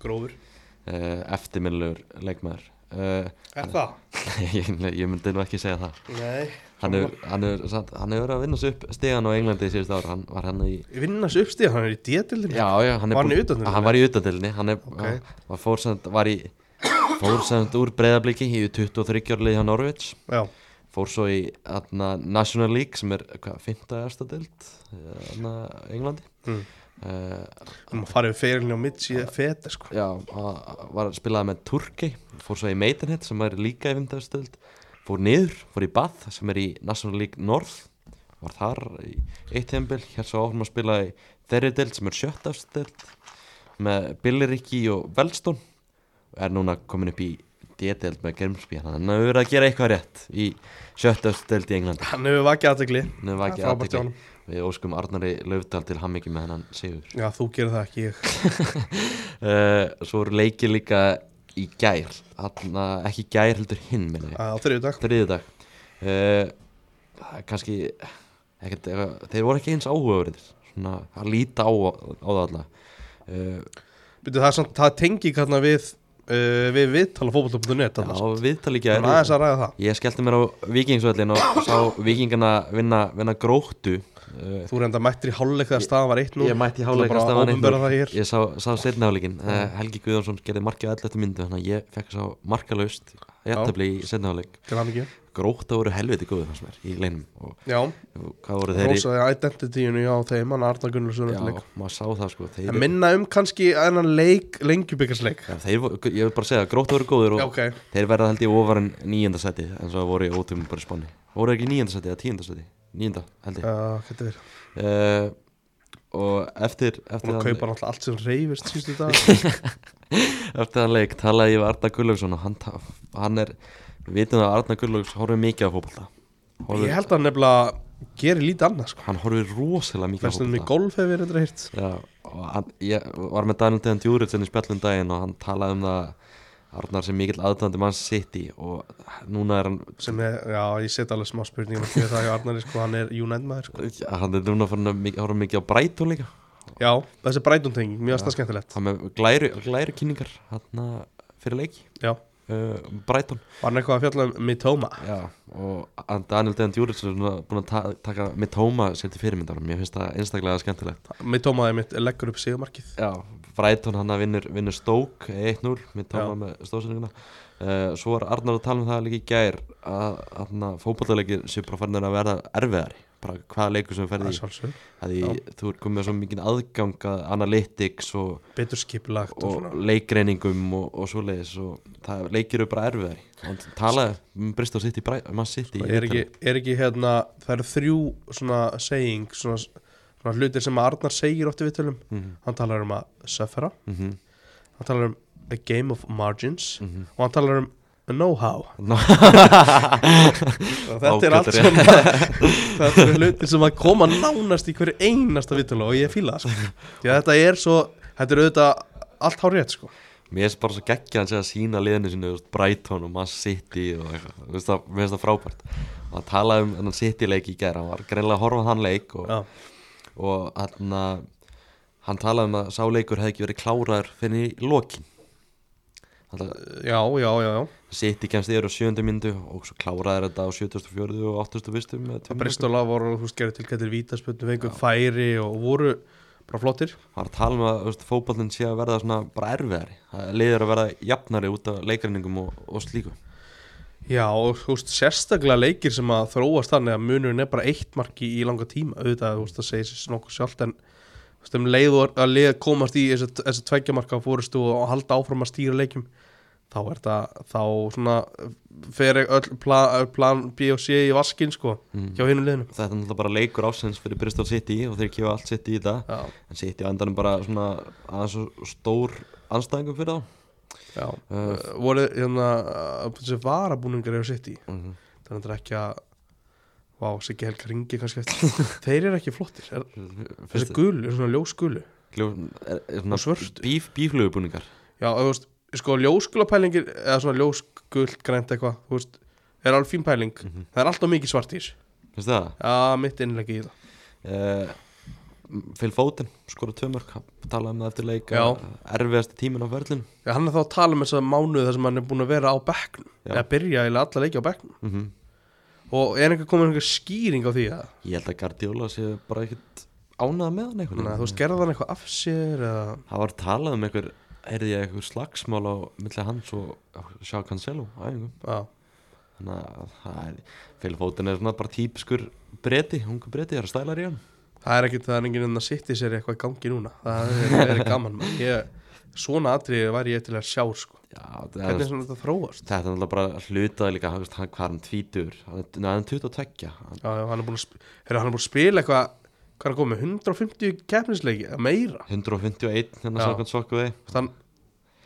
grófur
uh, eftirminnilegur leikmaður uh,
er það?
ég, ég myndi nú ekki segja það
nei
hann hefur- hann hefur samt- hann hefur verið að vinna sig upp stegan á Englandi síðust ára, hann var hann í
vinnas uppstíð, hann er í djetildin
já, já, hann, er
Var hann
búinn-
í utandeildinni?
hann var í utandilni hann er, okay. hann fór samt, var í fór samt úr breyðabliki í 23 árlið hjá Norvits
já,
fór svo í atna, National League sem er hvað, 5. ersta dild Englandi
Mm.
uh,
hann má fara yfir ferilni á mitt síðan feta sko
já, a- var að spilaði með Turki fór svo í Maidenhead sem er líka í 5. ersta dild fór niður, fór í Bath sem er í National League North var þar í eitt heimbil hér svo áfram að spila í þeirri dild sem er 7. ersta dild með Billericki og Wellstone er núna komin upp í D-deild með Germsby hann hefur verið að gera eitthvað rétt í 7. ersta dild í Englandi
hann hefur vakið aðtegli
Nú var ekki
Það er frábært hjá
aðtekli
honum.
Við óskum Arnari Löfdal til hammingi með hennan sigur
Já, þú gerir það ekki ég
uh, Svo eru leikir líka í gær Hanna, Ekki í gær heldur hinn minni
Á þriðju dag
Þriðið dag uh, Kanski ekkert, eitthvað- Þeir voru ekki eins áhugaverið Svona að líta á, á það alla uh,
Býtu, það, er samt- það tengi hérna við uh, við viðtala fótboll.net
Já,
þarna, sko.
viðtal í
Við erum aðeins
gær
að ræða það
Ég skellti mér á vikingsvöllin og sá vikingana vinna, vinna gróttu uh,
Þú reynda mættir í hálfleik þegar staðan var 1-0
Ég mætti í
Þú
háluleika
bara
stafan
opinbera það hér.
Ég sá, sá setna háluleikin uh, Helgi Guðjónsson gerði markið allir eftir myndu Þannig að ég fekk sá markalaust Jættabli í setna háluleik
Til hann ekki
Gróta voru helviti góðu fannst mér í leinum Og,
Já,
og hvað voru þeir í
rosaði identityinu hjá þeim Hann Arna Gunnarsson
Já,
eftir leik
maður sá það sko Þeir,
En minna um kannski enn leik, lengjubikarsleik
já, þeir voru, Ég vil bara segja að gróta voru góður
Já,
og
ok
Þeir verða held ég ofar en níunda seti En svo voru í ótum bara í spanni Voru þeir ekki níunda seti eða tíunda seti Níunda held ég
Já, Hvað er þetta?
uh, Og eftir Eftir
Hún
þann-
kaupa náttúrulega allt sem reyfist sístu dag
Eftir það leik talaði ég við Arna Gullaugsson og hann, ta- hann er, við vitum það að Arna Gullaugs horfir mikið á fótbolta
Ég
horfir,
held að hann nefnilega gerir lítið annað sko
hann horfir rosalega mikið á
Vestunum í
fótbolta
golf hefur þetta hýrt
Já, og hann, ég var með Daniel Dejan Djúritsen í spjallum daginn og hann talaði um það Arnar sem mikill aðdöndi mann sitt í og núna er hann
sem er, já, ég set alveg smá spurningum fyrir það hjá Arnari, sko, hann er United maður sko.
hann er núna farin að mikið- horfa mikið á Breitón líka
já, þessi Brighton tenging, mjög aðstæða skemmtilegt
hann með glæru, glæru kynningar hann fyrir leiki
já,
uh, Breitón
var hann eitthvað að fjalla um Mitoma
Já, og hann Daniel Dejan Djúritsson er svona búinn að ta taka Mitoma sér til fyrirmyndar mér finnst það einstaklega skemmtilegt
Mitoma er mitt, leggur upp sigumarkið
Já, Brighton hann að vinnur, vinnur Stoke 1-0, Mitoma
Já.
með stóðsendinguna uh, Svo var Arnar að tala um það líka í gær að, að fótballleikir sé bara farin að verða erfiðari bara hvaða leikur sem þú
það
ferði
er
í
svolsög,
að því þú er komið með svo mikið aðgang að analytics og,
betur skipulagt og,
og
svona
leikreiningum og, og svoleiðis og það leikir eru bara erfiðari og talaði, um brist á sitt í mann sitt í
og Sko, er ekki, er ekki hérna, það eru þrjú svona saying, svona, svona hlutir sem að Arnar segir ótti við tölum hann talar um að suffera
Mhm.
hann talar um a game of margins og hann talar um a know-how
Nó-
Og þetta er allt
Ágætlega.
svona þetta er hlutir sem að koma nánast í hverju einasta vitala og ég fíla það sko. því að þetta er svo, þetta er auðvitað allt hár rétt sko
Mér finnst bara svo geggja hann sé að sína liðinu sinni, þú veist, Brighton og Man City og eitthvað, Þú veist það- mér finnst það frábært og hann talaði um þennan City leik í gæra hann var greinlega að horfa á þann leik og,
já,
og hann, að- hann talaði um að sá leikur hefði ekki verið kláraður fyrir í lokin Þannig að
já, já, já, já.
City kemst yfir á sjöndu myndu og svo kláraður þetta á 74. og 81. með tveimur mínútum.
Bristola voru, þú veist, gerðu tilkættir vítaspötnu fengu færi og voru bara flottir
hann var að tala um að þú veist, fótballin sé að verða svona bara erfiðari Það liður að verða jafnari út af leikræningum og, og slíku
já, og þú veist, sérstaklega leikir sem að þróast þannig að munurinn er bara eitt marki í langa tíma, auðvitað, þú veist, það segir sér nokkuð sjálft en þú veist, um leið og að leið komast í þessi, þessi tveggjamarka fórustu og halda áfram að stýra leikjum þá er það, þá svona fer öll plan, plan B og C í vaskin sko, hjá hinu liðinu
þetta er náttúrulega bara leikur ásins fyrir Bristol City og þeir kifa allt City í það
já,
en City á endanum bara svona aðeins og stór anstæðingum fyrir þá
já, uh, voru hérna uh, þessi varabúningar eru sitt í
Mhm.
þannig að það er ekki að vá, Siggi Helga ringi kannski eftir þeir eru ekki flottir, er, þessi
Fyrst-
gulu, eru svona ljósgulu
gljó- er- er svona
Og svört.
bíf, bíflugubúningar
Já, þú veist, sko ljóskulapælingir eða svona ljóskult grænt eitthvað þú veist, er alveg fín pæling
Mhm.
það er alltaf mikið svart í þessu
finnst þið það?
Já, mitt innleggi í það
Uh, Phil Foden skora tvö mörg, talaði um það eftir leik
Já.
erfiðasti tíminn á ferlin
Já, hann er þá að tala um þess að mánuð þar sem hann er búin að vera á bekknum
Já.
eða byrja eða alla leiki á bekknum
mm
og er einhver komin einhver skýring á því að
ég held að Guardiola sé bara ekkert ánað með hann einhvern
Næ, þú
veginn.
veist, gerði hann eitthvað af sér eða
það var talað um einhver heyrði ég einhver slagsmál á milli hans og sjá Cancelo á æfingum
Já,
þannig að það er félfótin er svona bara típiskur breti, ungu breti, það er stælar í hann
það er ekkit það er enginn en að sitt í sér eitthvað í gangi núna það er, er gaman man. ég, svona atriði væri ég til að sjá sko.
já, það er,
hvernig er svona þetta þróast
þetta er náttúrulega bara hlutað líka hann, hann, hvað er hann, tvítur hann er nei, hann er 22 hann,
Já, já, hann er búin að, sp heyrðu, hann er búin að spila eitthvað hvað er að koma með 150 keppnisleiki eða meira,
151 hérna
Já.
samkvæmt sokku við
Þú veist, hann,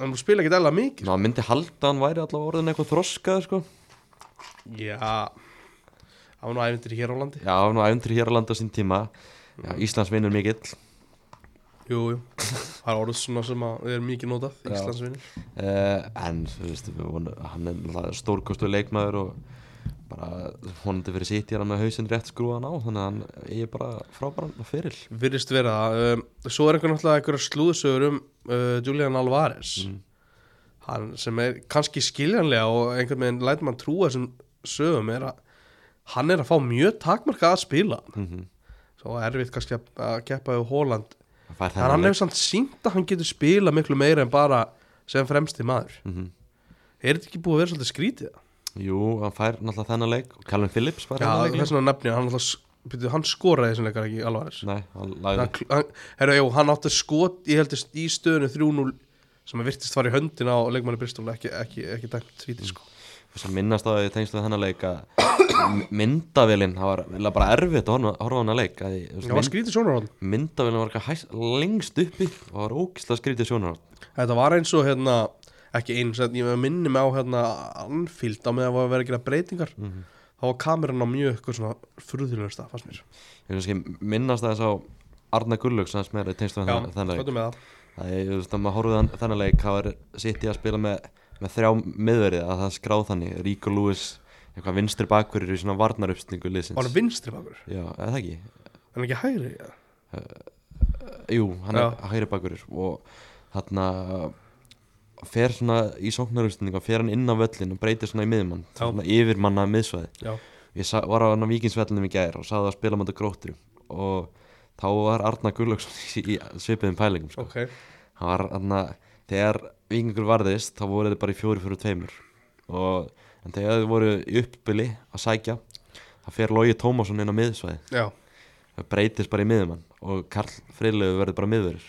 hann er búin að spila ekkit eða mikið
Ná, hann myndi halda að hann væri allavega orðin eitthvað þroskaður sko.
Já, hann var nú æfintir hér á landi
já, hann var æfntri hér á landa sín tíma já, Íslands vinnur mikill
Jú, jú, það er orðið svona sem að er mikið notað,
Já.
Íslandsvinni
uh, en þú veist, við vonu, hann er náttúrulega stórkostu leikmaður og bara vonandi fyrir sitt hér hann með hausinn rétt skrúan á þannig að hann er bara frábæran fyrir
Virðist
Mm.
vera það um, Svo er einhver náttúrulega einhverja slúðsögur um uh, Julian Alvarez hann sem er kannski skiljanlega og einhvern veginn lætur mann trúa þessum sögum er að hann er að fá mjög takmarka að spila
Mhm.
svo erfitt kannski að, að keppa við Hóland
Hann fær
en hann
þennan leik.
hefur samt sínt að hann getur spila miklu meira en bara sem fremsti maður
Mhm.
er þetta ekki búið að vera svolítið skrítið
Jú, hann fær náttúrulega þennan leik og Callum Phillips fær
Já,
þennan leik
þess vegna nefni ég, hann, alltaf, byrju, hann skoraði þessum leikar ekki alvarins
Nei, hann lagði
hann, hann, herra, jú, hann átti skot ég heldist í stöðinu 3-0 sem að virtist fara í höndina á leikmanni Bristol ekki, ekki, ekki dæmt svítið sko
sem minnast á því tengst við hennar leik að myndavélinn, það var eiginlega bara erfitt að horfa- horfa á hennar leik að því, þú veist,
það var skrítið sjónarhóðan
mynd, myndavélinn var eitthvað hæst, lengst uppi og var ógislega skrítið sjónar
þetta var eins og hérna ekki eins, en ég minni mig á hérna Anfield á meðan var verið að gera breytingar þá var kameran á mjög eitthvað svona frúðilegursta, fannst mér
ég veist ekki minnast þess á Arna Gullug sem er tengst við
Já,
hennar þennan leik
skotum með það
það er, þú veist, að maður horfið hann, þennan leik það var sitt í að spila með, með þrjá miðverið að það er skráð þannig Ríko Lewis, eitthvað vinstri bakverið í svona varnaruppstingu
Var hann
liðsins
vinstri bakur,
Já, eða ekki
en ekki hægri ja.
Jú, hann
Já.
er hægri bakurur og þarna uh, fer svona í sóknarústinning og fer hann inn á völlin og breytir svona í miðmann
Já.
svona yfir manna miðsvæði
Já.
ég sa, var á hann á vikingsvellinum í gær og sagði að spila mæta gróttur og þá var Arna Gullöksson í svipiðum pælingum sko.
ok,
hann var þarna þegar vikingur varðist þá voru þeir bara í fjóri fyrir tveimur og en þegar þeir voru í uppbyli að sækja þá fer Lógi Tómasson inn á miðsvæði
já
það breytist bara í miðumann og Karl Freylegu verður bara miðverður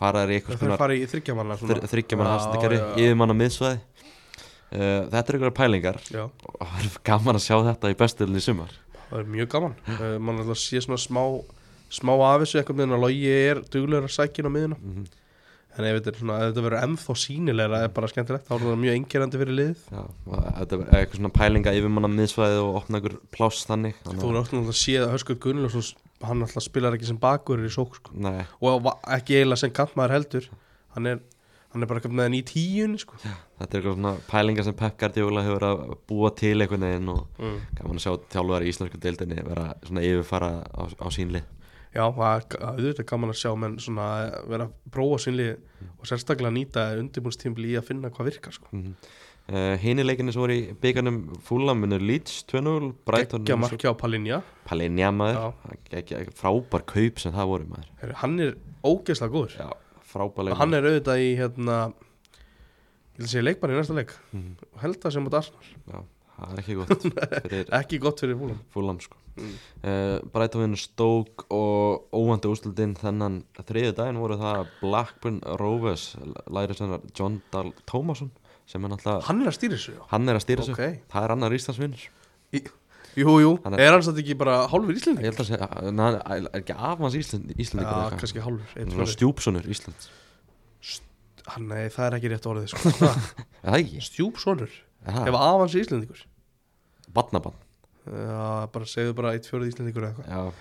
faraður í
það
eitthvað
þarf að
skonar
fara í þryggjamanna
þryggja mann
Já,
hastakari
já, já.
yfir mann á miðsvæði uh, þetta er einhverjar pælingar
já,
og það er gaman að sjá þetta í bestilni í sumar
það er mjög gaman uh, mann er alltaf að sé svona smá smá af þessu eitthvað meðan að logi er duglegur að sækja inn á miðina
Mhm.
en ef þetta, er svona, ef þetta verður ennþá sínilegra það er bara skemmtilegt, þá er það mjög engirandi fyrir lið
Já, og þetta er eitthvað svona pælinga yfir mann á miðsvæði og opna einhver pláss þannig
þú
þannig
er alltaf að sé að Höskut Gunnljófs hann alltaf spilar ekki sem bakur í sók sko.
að- Nei,
og va- ekki eiginlega sem kantmaður heldur hann er, hann er bara eitthvað með hann í tíun sko.
þetta er eitthvað svona pælinga sem Pep Guardiola hefur verið að búa til einhvern veginn og
mm.
gaman að sjá þjálfari í íslensku deildinni vera svona yfirfara á, á sínli
já, það er það er auðvitað gaman að sjá menn svona eh, vera að prófa sínli
Mm.
og sérstaklega nýta undirbúnstímbli í að finna hvað virkar sko.
Uh, Hini leikinni sem voru í byggarnum Fúlaminu Leeds 2-0 Brighton
ekki að markja á Palinja
Palinja maður
Já.
ekki, frábær kaup sem það voru maður
Heru, hann er ógeðslega góður
Já, frábær
og
leikur
hann er auðvitað í hérna ég vil segja leikmann í næsta leik
Mhm.
og held það sem út Arsenal
Já, það er ekki gott fyrir
ekki gott fyrir fúlan
Fúlam sko
Mm.
uh, Brighton vinnur Stoke og óvandi úrslutin þennan þriðu daginn voru það Blackburn Rovers læri sennar John Dahl Tómasson sem er náttúrulega
hann er að stýra þessu já.
hann er að stýra þessu
Ok.
það er annar Íslandsvinnur
Í, jú, jú,
Hann er-
er hann satt ekki bara hálfur
ég
Íslandi?
held að segja en hann er ekki af hans Ísland, Íslandi
Já, kannski hálfur einn fyrir.
Stjúpsonur Íslands
hann, nei, það er ekki rétt orðið sko.
Er það ekki?
stjúpsonur,
Er það?
ef afans Íslandingur
Batnabann
já, bara segðu bara eitt fjórið Íslandingur eða eitthvað
Já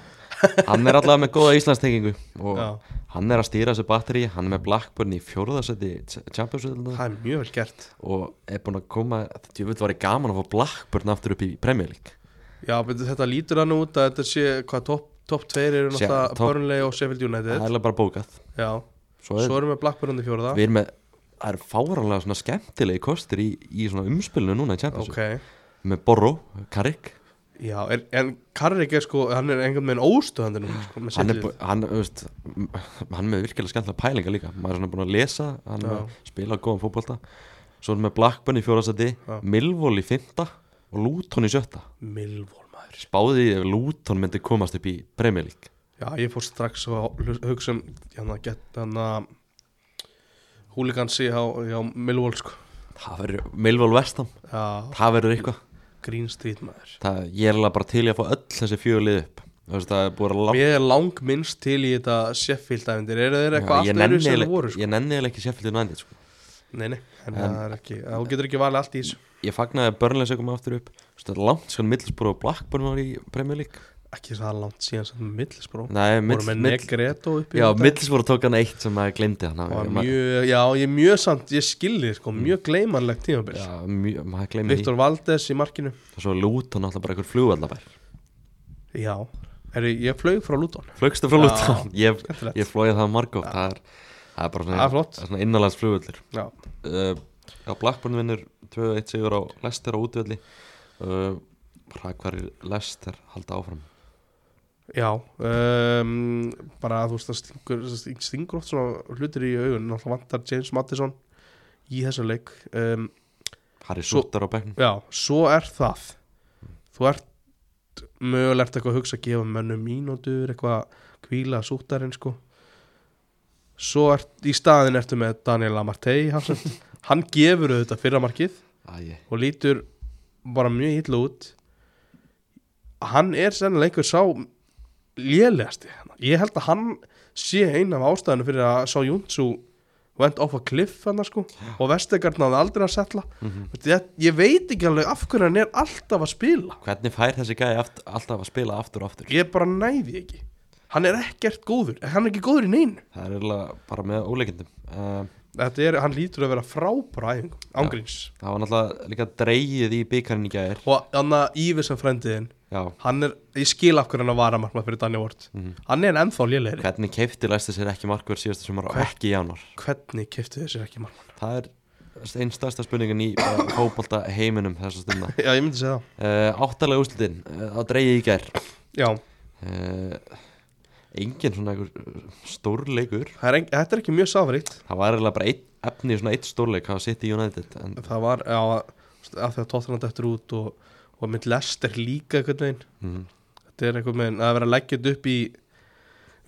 Hann er allavega með góða Íslandstengingu og
Já.
hann er að stýra þessu batteri hann er með Blackburn í fjórðarsæti Champions League
það er mjög vel gert
og er búinn að koma þetta vil var gaman að fá Blackburn aftur upp í Premier League
já, betur, þetta lítur hann út að þetta sé hvað topp top 2 eru
Sé-
náttúrulega
topp-
Burnley og Sheffield
Það er
United
alveg bara bókað
já,
Svo er,
svo erum við Blackburn undir fjóraða
við erum með það eru fáranlega svona skemmtilegi kostir í, í svona umspilinu núna í Champions
ok,
League með Borro, Carrick
já, er, en Karrik er sko hann er einhvern veginn óstöðandi núna sko, með
hann er,
City.
bú- hann, þú veist, m- hann er með virkilega skemmtilega pælinga líka maður er svona búin að lesa, hann er
Já.
með að spila góðan fótbolta svo er með Blackburn í fjórastæti
Já.
Milvól í fymta og Luton í sjötta
Millwall maður
spáði ég ef Luton myndi komast upp í Premier League
já, ég fór strax og hlus- hugsa um hann að geta hann að húligansi á, á Millwall sko
það verður Milvól vestam
já,
það verður eitthvað
Green Street maður
það, ég er alveg bara til í að fá öll þessi fjölið upp Þú veist, það er búin að láta
Mér er lang minnst til í þetta Sheffield æfindir, eru þeir eitthvað
ég
allt öðru sem
nenni
þeir voru
eiginlega-
sko?
ég nenni eiginlega ekki Sheffield United sko.
Nei, nei, en það er ekki, þú getur ekki valið allt í þessu
ég fagnaði að Burnley sé koma aftur upp Þú veist, það er langt skan Middlesbrough og Blackburn var í Premier League
Ekki það langt síðan sem Middlesbró
Nei,
Voru með
Middles-
Negreto upp í
Já,
þetta.
Middlesbrough tók hann eitt sem maður glemdi hann
Það var
maður-
mjög, já, ég er mjög samt, ég skilði sko, mjög gleymanlegt tímabil
Já, mjög, maður glemdi Victor.
Viktor Valdes í markinu
því Og svo Luton alltaf bara einhver flugvallabær
Já, Heri, ég flög frá Luton
Flögstu frá
Já,
Luton Ég,
skemmtilegt.
ég flóið það margótt það, er- það er bara
Það er
svona,
flott.
svona innanlands flugvallir
Já,
uh, Já, Blackburn vinnur 2-1 sigur á Leicester á útvöldi uh, Hrakvarir Leicester halda áfram
Já, um, bara að þú veist það stingur, það stingur oft svona hlutir í augun náttúrulega vantar James Madison í þessum leik um,
Harry
Svo-
Súttar á bekknum
Já, svo er það þú ert mögulegt eitthvað að hugsa að gefa mönnum mínútur eitthvað kvíla súttarinn sko svo ert í staðin ertu með Daniel Amartey hann gefur auðvitað fyrra markið
Æ,
og lítur bara mjög illa út hann er sennilega einhver sá lélegasti hérna. ég held að hann sé eina af ástæðinu fyrir að sá Júntsu went off a cliff hann sko og Vestegard náði aldrei að setla
Mhm.
ég, ég veit ekki alveg af hverju hann er alltaf að spila
Hvernig fær þessi gæði aft, alltaf að spila aftur og aftur?
ég bara næði ekki hann er ekkert góður, hann er ekki góður í neinu
Það er eiginlega bara með óleikindum uh,
þetta er, hann lítur að vera frábæra æfingu, ángríns
Það var náttúrulega líka dreigið í byggarinn í gæðir
og annað Ívis sem frendiðin
Já,
hann er, ég skil af hverju hann var að markmað fyrir Danny Ward hann er ennþá lélegri
hvernig keifti Leicester sér ekki markverð síðasta sumar og
Hver-
ekki í januar
hvernig keftu þessir ekki markmann
Það er einn stærsta spurningin í fókbalta heiminum þessa stundna
já, ég myndi segja það
uh, Áttalega úslitin uh, á dreigið í gær
já,
uh, Engin svona einhver eh, stórleikur
það er ein, þetta er ekki mjög safrikt
Það var eiginlega bara eitt efni í svona eitt stórleik hvað sitt í United en
það var, já, að því að Tottenham eftir út og, og mynd lester líka einhvern veginn,
mm,
þetta er einhvern veginn að vera að leggja þetta upp í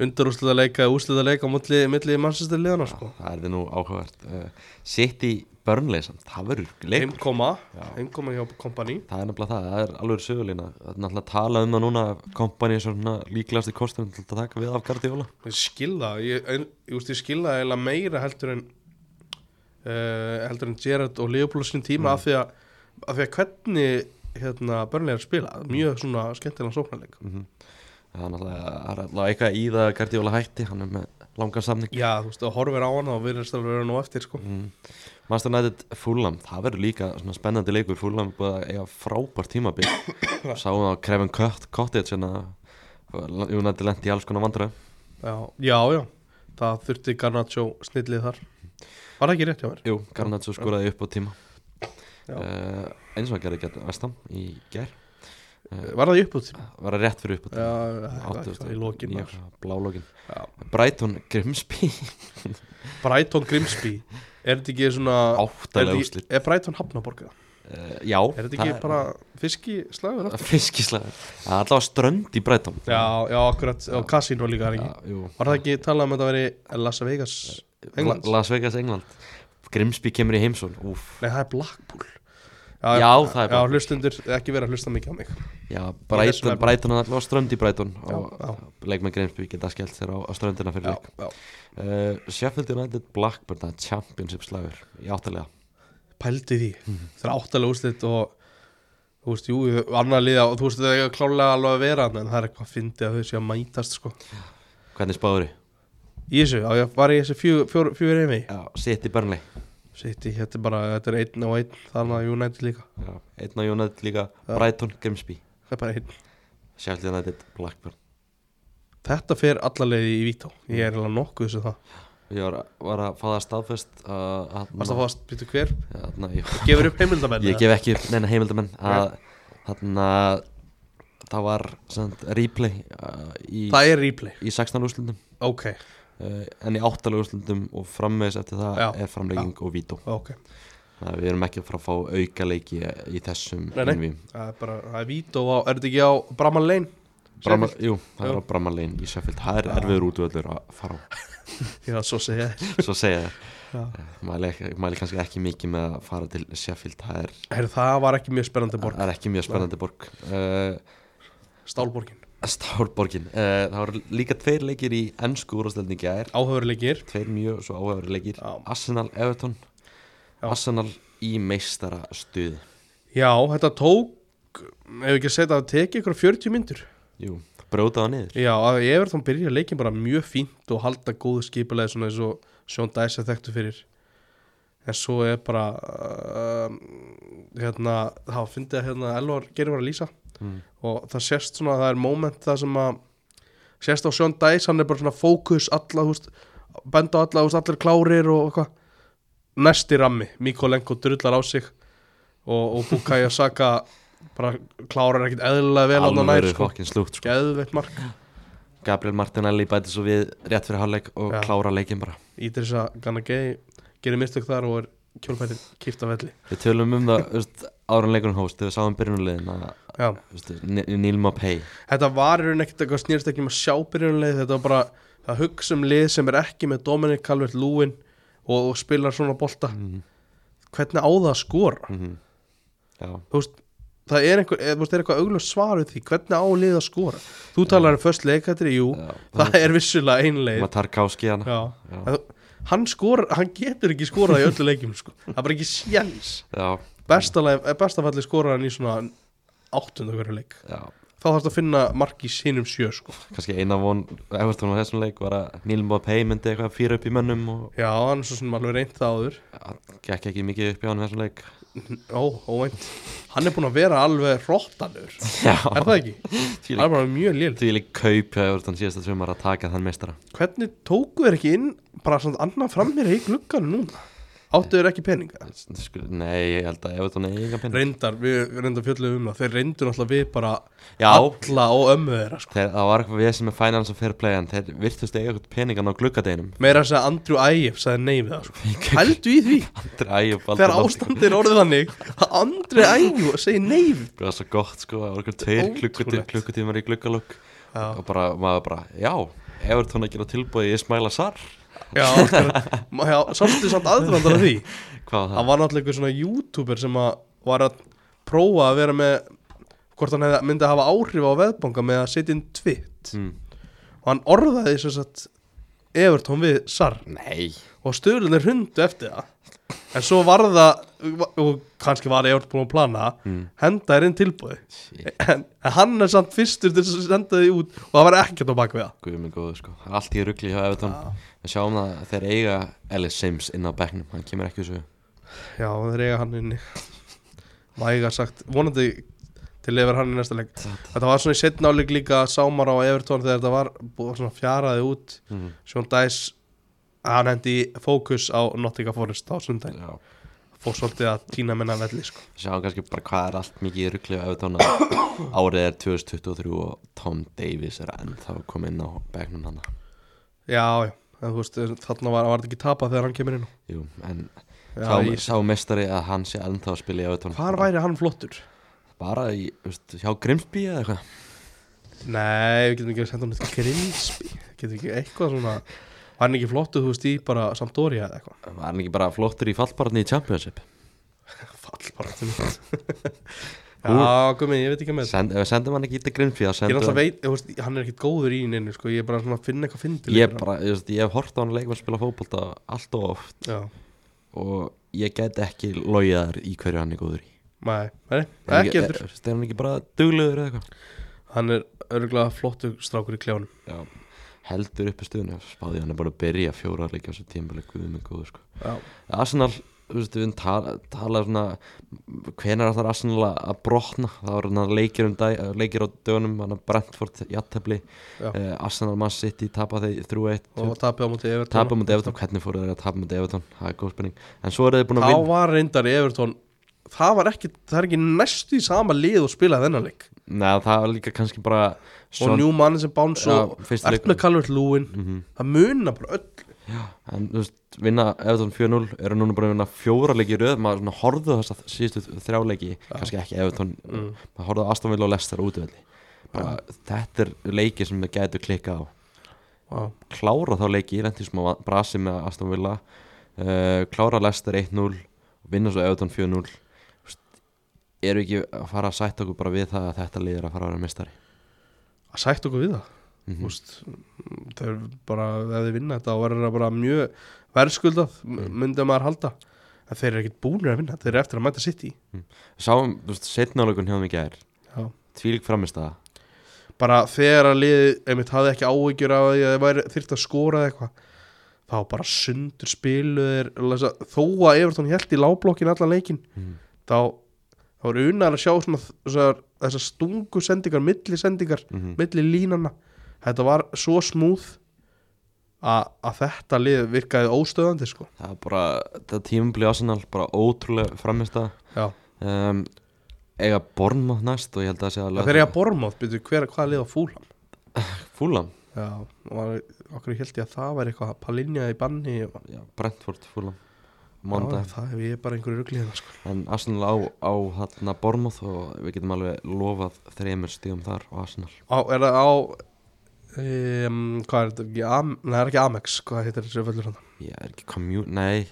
undarúslega leika, úslega leika á milli, milli mannsistir liðana, sko
það er þið nú áhugavert uh, sitt í Burnley samt, það verður leik
heimkoma,
Já.
heimkoma hjá kompani
Það er nefnilega það, það er alveg sögulína Það er náttúrulega að tala um það núna kompanið svona líklegasti kostum til að taka við af Guardiola
ég skilða, ég, ég, ég, veist, ég skilða eiginlega meira heldur en uh, heldur en Gerrard og Leopold sín tíma af, því að, af því að hvernig hérna börnlega er að spila mjög svona skemmtilega sóknarleik
Það er náttúrulega það er allavega eitthvað í það að Guardiola hætti hann er með langan samning
já, þú veist, og horfir á hana og við erum staflega verið nú eftir sko.
mm. Master United Fulham, það verður líka svona spennandi leikur Fulham er búið að eiga frábært tímabil Sáum það á Kevin Cott- Cottage hérna, United lendi í alls konar vandröð
já, já, já það þurfti Garnaccio snillið þar var það ekki rétt hjá mér?
Jú, Garnaccio skoraði upp á tíma
Já.
uh, eins og hann gerði gegn Vestam í ger
var það í uppbútt? já,
Eh, var að rétt fyrir upp á tíma
það
Áttu-
var í lokin
níu-
maður.
Blálokin
Já.
Brighton Grimsby
Brighton Grimsby er þetta ekki svona er,
Áttalega
þetta
úslit
ekki, er Brighton hafnaborga?
uh, Já
er þetta ekki
það-
bara fiski slagur?
Fiskislag Það er alltaf strönd í Brighton
Já, já, akkurat, og Casino líka er
Já, Eh,
ekki
jú.
Var það ekki talað um að þetta veri Las Vegas? England?
La- Las Vegas, England Grimsby kemur í heimsól Úf
Nei, það er Blackpool
Já, það er Blackpool.
Já, hlustundur, ekki vera að hlusta mikið á mig
Já,
þessum
Brighton,
efnum.
Brighton er alltaf strönd í Brighton og
já.
leikmenn Grimsby geta skellt sér á, á ströndina fyrir
Já,
leik
já
Uh, Sheffield United Blackburn það er championship slagur í áttalega
Pældi því,
Mhm.
það er áttalega úrslit og Þú veist, jú, annar liða og þú veist, það er klálega alveg að vera þarna, en það er eitthvað að fyndi að þau sé að mætast, sko
hvernig spáður
Í þessu, á ég var í þessu fjögur fjör, fjör eimi
þið? City Burnley
Sitt í, þetta er bara, þetta er einn og einn, þarna United líka
Já. einn á United líka Brighton Grimsby
Það er bara einn
Sheffield United Blackburn
Þetta fer allarleiði í Vító, ég er alveg nokkuð þessu það
ég var, var að fá það staðfest uh, að-
Varst að fá að býta hver?
Já, þarna, ég,
Gefur upp heimildamenn?
ég gef ekki upp neina heimildamenn að þarna það var send, replay uh, í,
Það er replay
í 16 úrslundum
Ok,
uh, en í 8 úrslundum og frammeðis eftir það
Já.
er framlegging og vító
ok
Þannig að við erum ekki að fara að fá auka leiki í þessum
Nei, nei.
innvíum.
Það er bara, það er vít og á, er þetta ekki á Bramall Lane?
Bramar,
Sheffield?
jú, það
Jú.
er á Bramarlegin í Sheffield Það er erfiður útvöldur að fara á
Já, svo segja ég
Svo segja
Já.
það mæli, ekki- mæli kannski ekki mikið með að fara til Sheffield Það er,
Herru, það var ekki mjög spennandi borg,
það er ekki mjög spennandi borg uh,
stálborgin
Stárborgin uh, Það voru líka tveir leikir í ennsku úrastelni gær
Áhöfurleikir
Tveir mjög svo áhæfri leikir
Já.
Arsenal Everton
Já.
Arsenal í meistara stuði
Já, þetta tók, ef ekki að segja það, tekið ykkur 40 myndur
Jú, brótaða niður
Já, að ég verð þá byrja leikin bara mjög fínt og halda góðu skipulegi svona eins og Sjón Dæs er þekktu fyrir En svo er bara, um, hérna, þá fyndi að hérna Elvar gerir var að lýsa
mm.
og það sést svona, það er moment það sem að sést á Sean Dice, hann er bara svona fókus alla, þú veist, benda á alla, þú veist, allir klárir og eitthvað næsti rammi Mikolenko drullar á sig og, og Bukai Saka bara klárar ekkit eðlilega vel hann á
Alveg
nær
verið
sko,
fokkin slúgt sko.
geðveitt mark
Gabriel Martinelli bæti svo við rétt fyrir hálfleik og
Já.
klára leikinn bara
Ídrisa Ganagei gerir mistök þar og er kjólfættin kipta velli
Við tölum um það, þú veist, árun leikunum hóst þegar við sáum byrjunulegin að
Já.
þú veist, Ni- Nilma Pei
þetta var í rauninni ekkert eitthvað snýrst ekki um að sjá byrjunarlið þetta var bara að hugsa um lið sem er ekki með Dominic Calvert Lúin og, og spilar svona bolta
Mhm.
hvernig á það að skora
Já,
þú veist, það er, einhver, eð, veist, er eitthvað auglust svar við því, hvernig á lið að skora þú talar um först leikatri, jú
já
það er vissulega ein leið
Matar Káski hana
Já.
Já.
En þú- hann skora, hann getur ekki skorað í öllu leikjum sko, það er bara ekki sjens
Já,
bestafalli skorar hann í svona áttundu hverju leik
já
þá þarfst að finna mark í sínum sjö sko.
kannski eina von Evertón á þessum leik var að Nilma Pei myndi eitthvað fýra upp í mönnum og
já, hann er svo sem alveg reynd það áður
gekk ekki mikið upp í hann þessum leik
Ó, óvænt Hann er búinn að vera alveg róttanur
Já,
Er það ekki?
því
Hann er bara mjög lél
Því lík kaup hjá Evertón síðasta sumar að taka þann meistara
Hvernig tóku þér ekki inn bara svona annan frammir í glugganum núna? Áttu þér ekki peninga?
Skul- Nei, ég held að Evertón eigi engan penning
Reyndar, við við reyndar fjöllum um það Þeir reyndu náttúrulega við bara
Já.
alla og ömmu þeirra sko.
Þeir, það var eitthvað við sem er finance og fair play en þeir virtust eiga eitthvað peningan á gluggadeginum
Meira að segja Andrew Ægif sagði nei við það sko. Hældu í því
Dræ og baldur
Þegar ástandið er orðið þannig að Andrew Ægif segir nei við
Það var svo gott sko, það var eitthvað tveir klukkutí-
Ótrúlegt.
klukkutímar í gluggalokk
Já.
og bara, maður bara, já Evertón að gera tilbúið í Ismaila Sar
Já, Óskar, ma- já sástu samt aðdrandar af því
Hvað var
hann
það?
var náttúrulega einhver svona youtuber sem að var að prófa að vera með hvort hann hefði, myndi að hafa áhrif á veðbanga með að setja inn tvitt
Mm.
og hann orðaði svo satt Evertón við Sar
Nei
og stöðlunir hundu eftir það en svo var það og kannski var Evertón búin að plana mm. henda er inn tilbúði
Shit.
en, en hann er samt fyrstur til að senda því út og það var ekkert á bak við það
Guð minn góður sko, Það er allt í rugli hjá Evertón Við sjáum það að þeir eiga Ellis Sims inn á bekknum, hann kemur ekki þessu
já, þeir eiga hann inni væga sagt, vonandi til yfir hann í næsta leik Þetta var svona í setna áleik líka Sámar á Evertón þegar þetta var búið svona fjaraði út
Mhm.
Sjón Dæs hann hendi í fókus á Nottingham Forest á sundaginn
Já
fór svolítið að týna minna velli sko.
Sjáum kannski bara hvað er allt mikið í rugli hjá Evertón að Árið er 2023 og Tom Davies er ennþá komið inn á bekknum hann
Já, já, en þú veist þarna var, var þetta ekki tapað þegar hann kemur inn á.
Jú, en
já,
sá,
ég,
sá mestari að hann sé ennþá að spila í Evertón
Hvar væri hann flottur?
Bara í, veist, hjá Grimsby eða eitthvað
Nei, við getum ekki að senda hann eitthvað grinspi getum ekki eitthvað svona var hann ekki flottur, þú veist, í bara Sampdoria eða eitthvað
Var hann ekki bara flottur í fallbarni í Championship?
fallbartum Já, komið, ég veit ekki með þetta
Send, ef við sendum hann ekki í Grimsby þá
Ég er
sendum
alltaf veit, þú veist, hann er ekkit góður í henni sko, ég er bara svona að finna eitthvað fyndi
Ég, bara, ég, veist, ég hef hort á hann leikmann spila fótbolta allt og oft
Já,
og ég get ekki logið þar í hverju hann er góður í
nei, nei,
Er hann
ekki eftir
er- veist, Er hann ekki bara duglegur eða eitthvað?
Hann er örgulega flottur strákur í kljónum
Já Heldur uppi stuðinu, spáði hann er bara að byrja fjóra leikja á þessu tímabili, guðum minn góður sko
Já,
Arsenal, þú veist, við tala, tala svona hvenær ætlar Arsenal að að brotna það var svona leikir, um dag, leikir á dögunum hann að Brentford jattefli
Já.
eh, Arsenal Man City tapa þeir 3-1
og tapið á móti Evertón
tapa mútið Evertón, hvernig fóru þeir að tapa mútið Evertón það er góð spenning, en svo eru þeir búin að
Þá
vinna
var reyndar Evertón Það var ekki, það er ekki næstu í sama lið og spilaði þennan leik
Nei, það var líka kannski bara
Og njú manni sem báns og
Já, fyrsti leikur. Mhm.
Erna Kalvert Lúin Það muna bara öll
en þú veist, vinna Evertón 4-0 eru núna bara að vinna fjóra leiki í röð maður svona horfðu á þessa síðustu þrjá leiki kannski ekki Evertón, maður horfðu á Aston Villa og Leicester útvöldi bara, þetta er leiki sem það getur klikkað á
Vá.
klára þá leiki, lendi í smá brasi með Aston Villa uh, klára Leicester 1-0 vinna svo Everton 4-0 Þú veist, eru ekki að fara að sætta okkur bara við það að þetta liður að fara að vera mistari
Að sætt okkur við það
Mhm.
Þú veist, Það er bara, ef þið vinna þetta og verður það bara mjög verðskuldað myndið maður halda en þeir eru ekkit búnir að vinna, þeir eru eftir að mæta sitt í
sáum, þú veist, setnálegun hjá þeim í gær
Já
tvílik framist að
bara þegar að liði einmitt hafði ekki áhyggjur af því að það væri þyrft að skora eða eitthvað þá bara sundur spiluðir lesa, þó að Evertón held í láblokkin allan leikin
Mhm.
þá þá er unar að sjá svona þessar, þessar stungu sendingar, milli sendingar
mm -hmm.
milli línana, þetta var svo smúð að, að þetta lið virkaði óstöðandi sko.
það er bara, þetta tímabli Arsenal bara ótrúlega framist að
Já.
um, eiga Bornmátt næst og ég held að það sé
Þegar ég að bormóð, byrju, hver, hvað lið á fúlam?
Fúlam,
Já, og var, okkur held ég að það væri eitthvað palinja í banni og
já, Brentford Fúlam
Já,
Mondag,
það hef ég bara einhverju ruglið hérna sko.
en Arsenal á, á þarna Bornmátt og við getum alveg lofað þreymur stíum þar á Arsenal
á, Er það á um, Hvað er þetta? Ekki Am, nei, það er ekki Amex Hvað heitir þessu völlur hann?
ég er ekki komjú, nei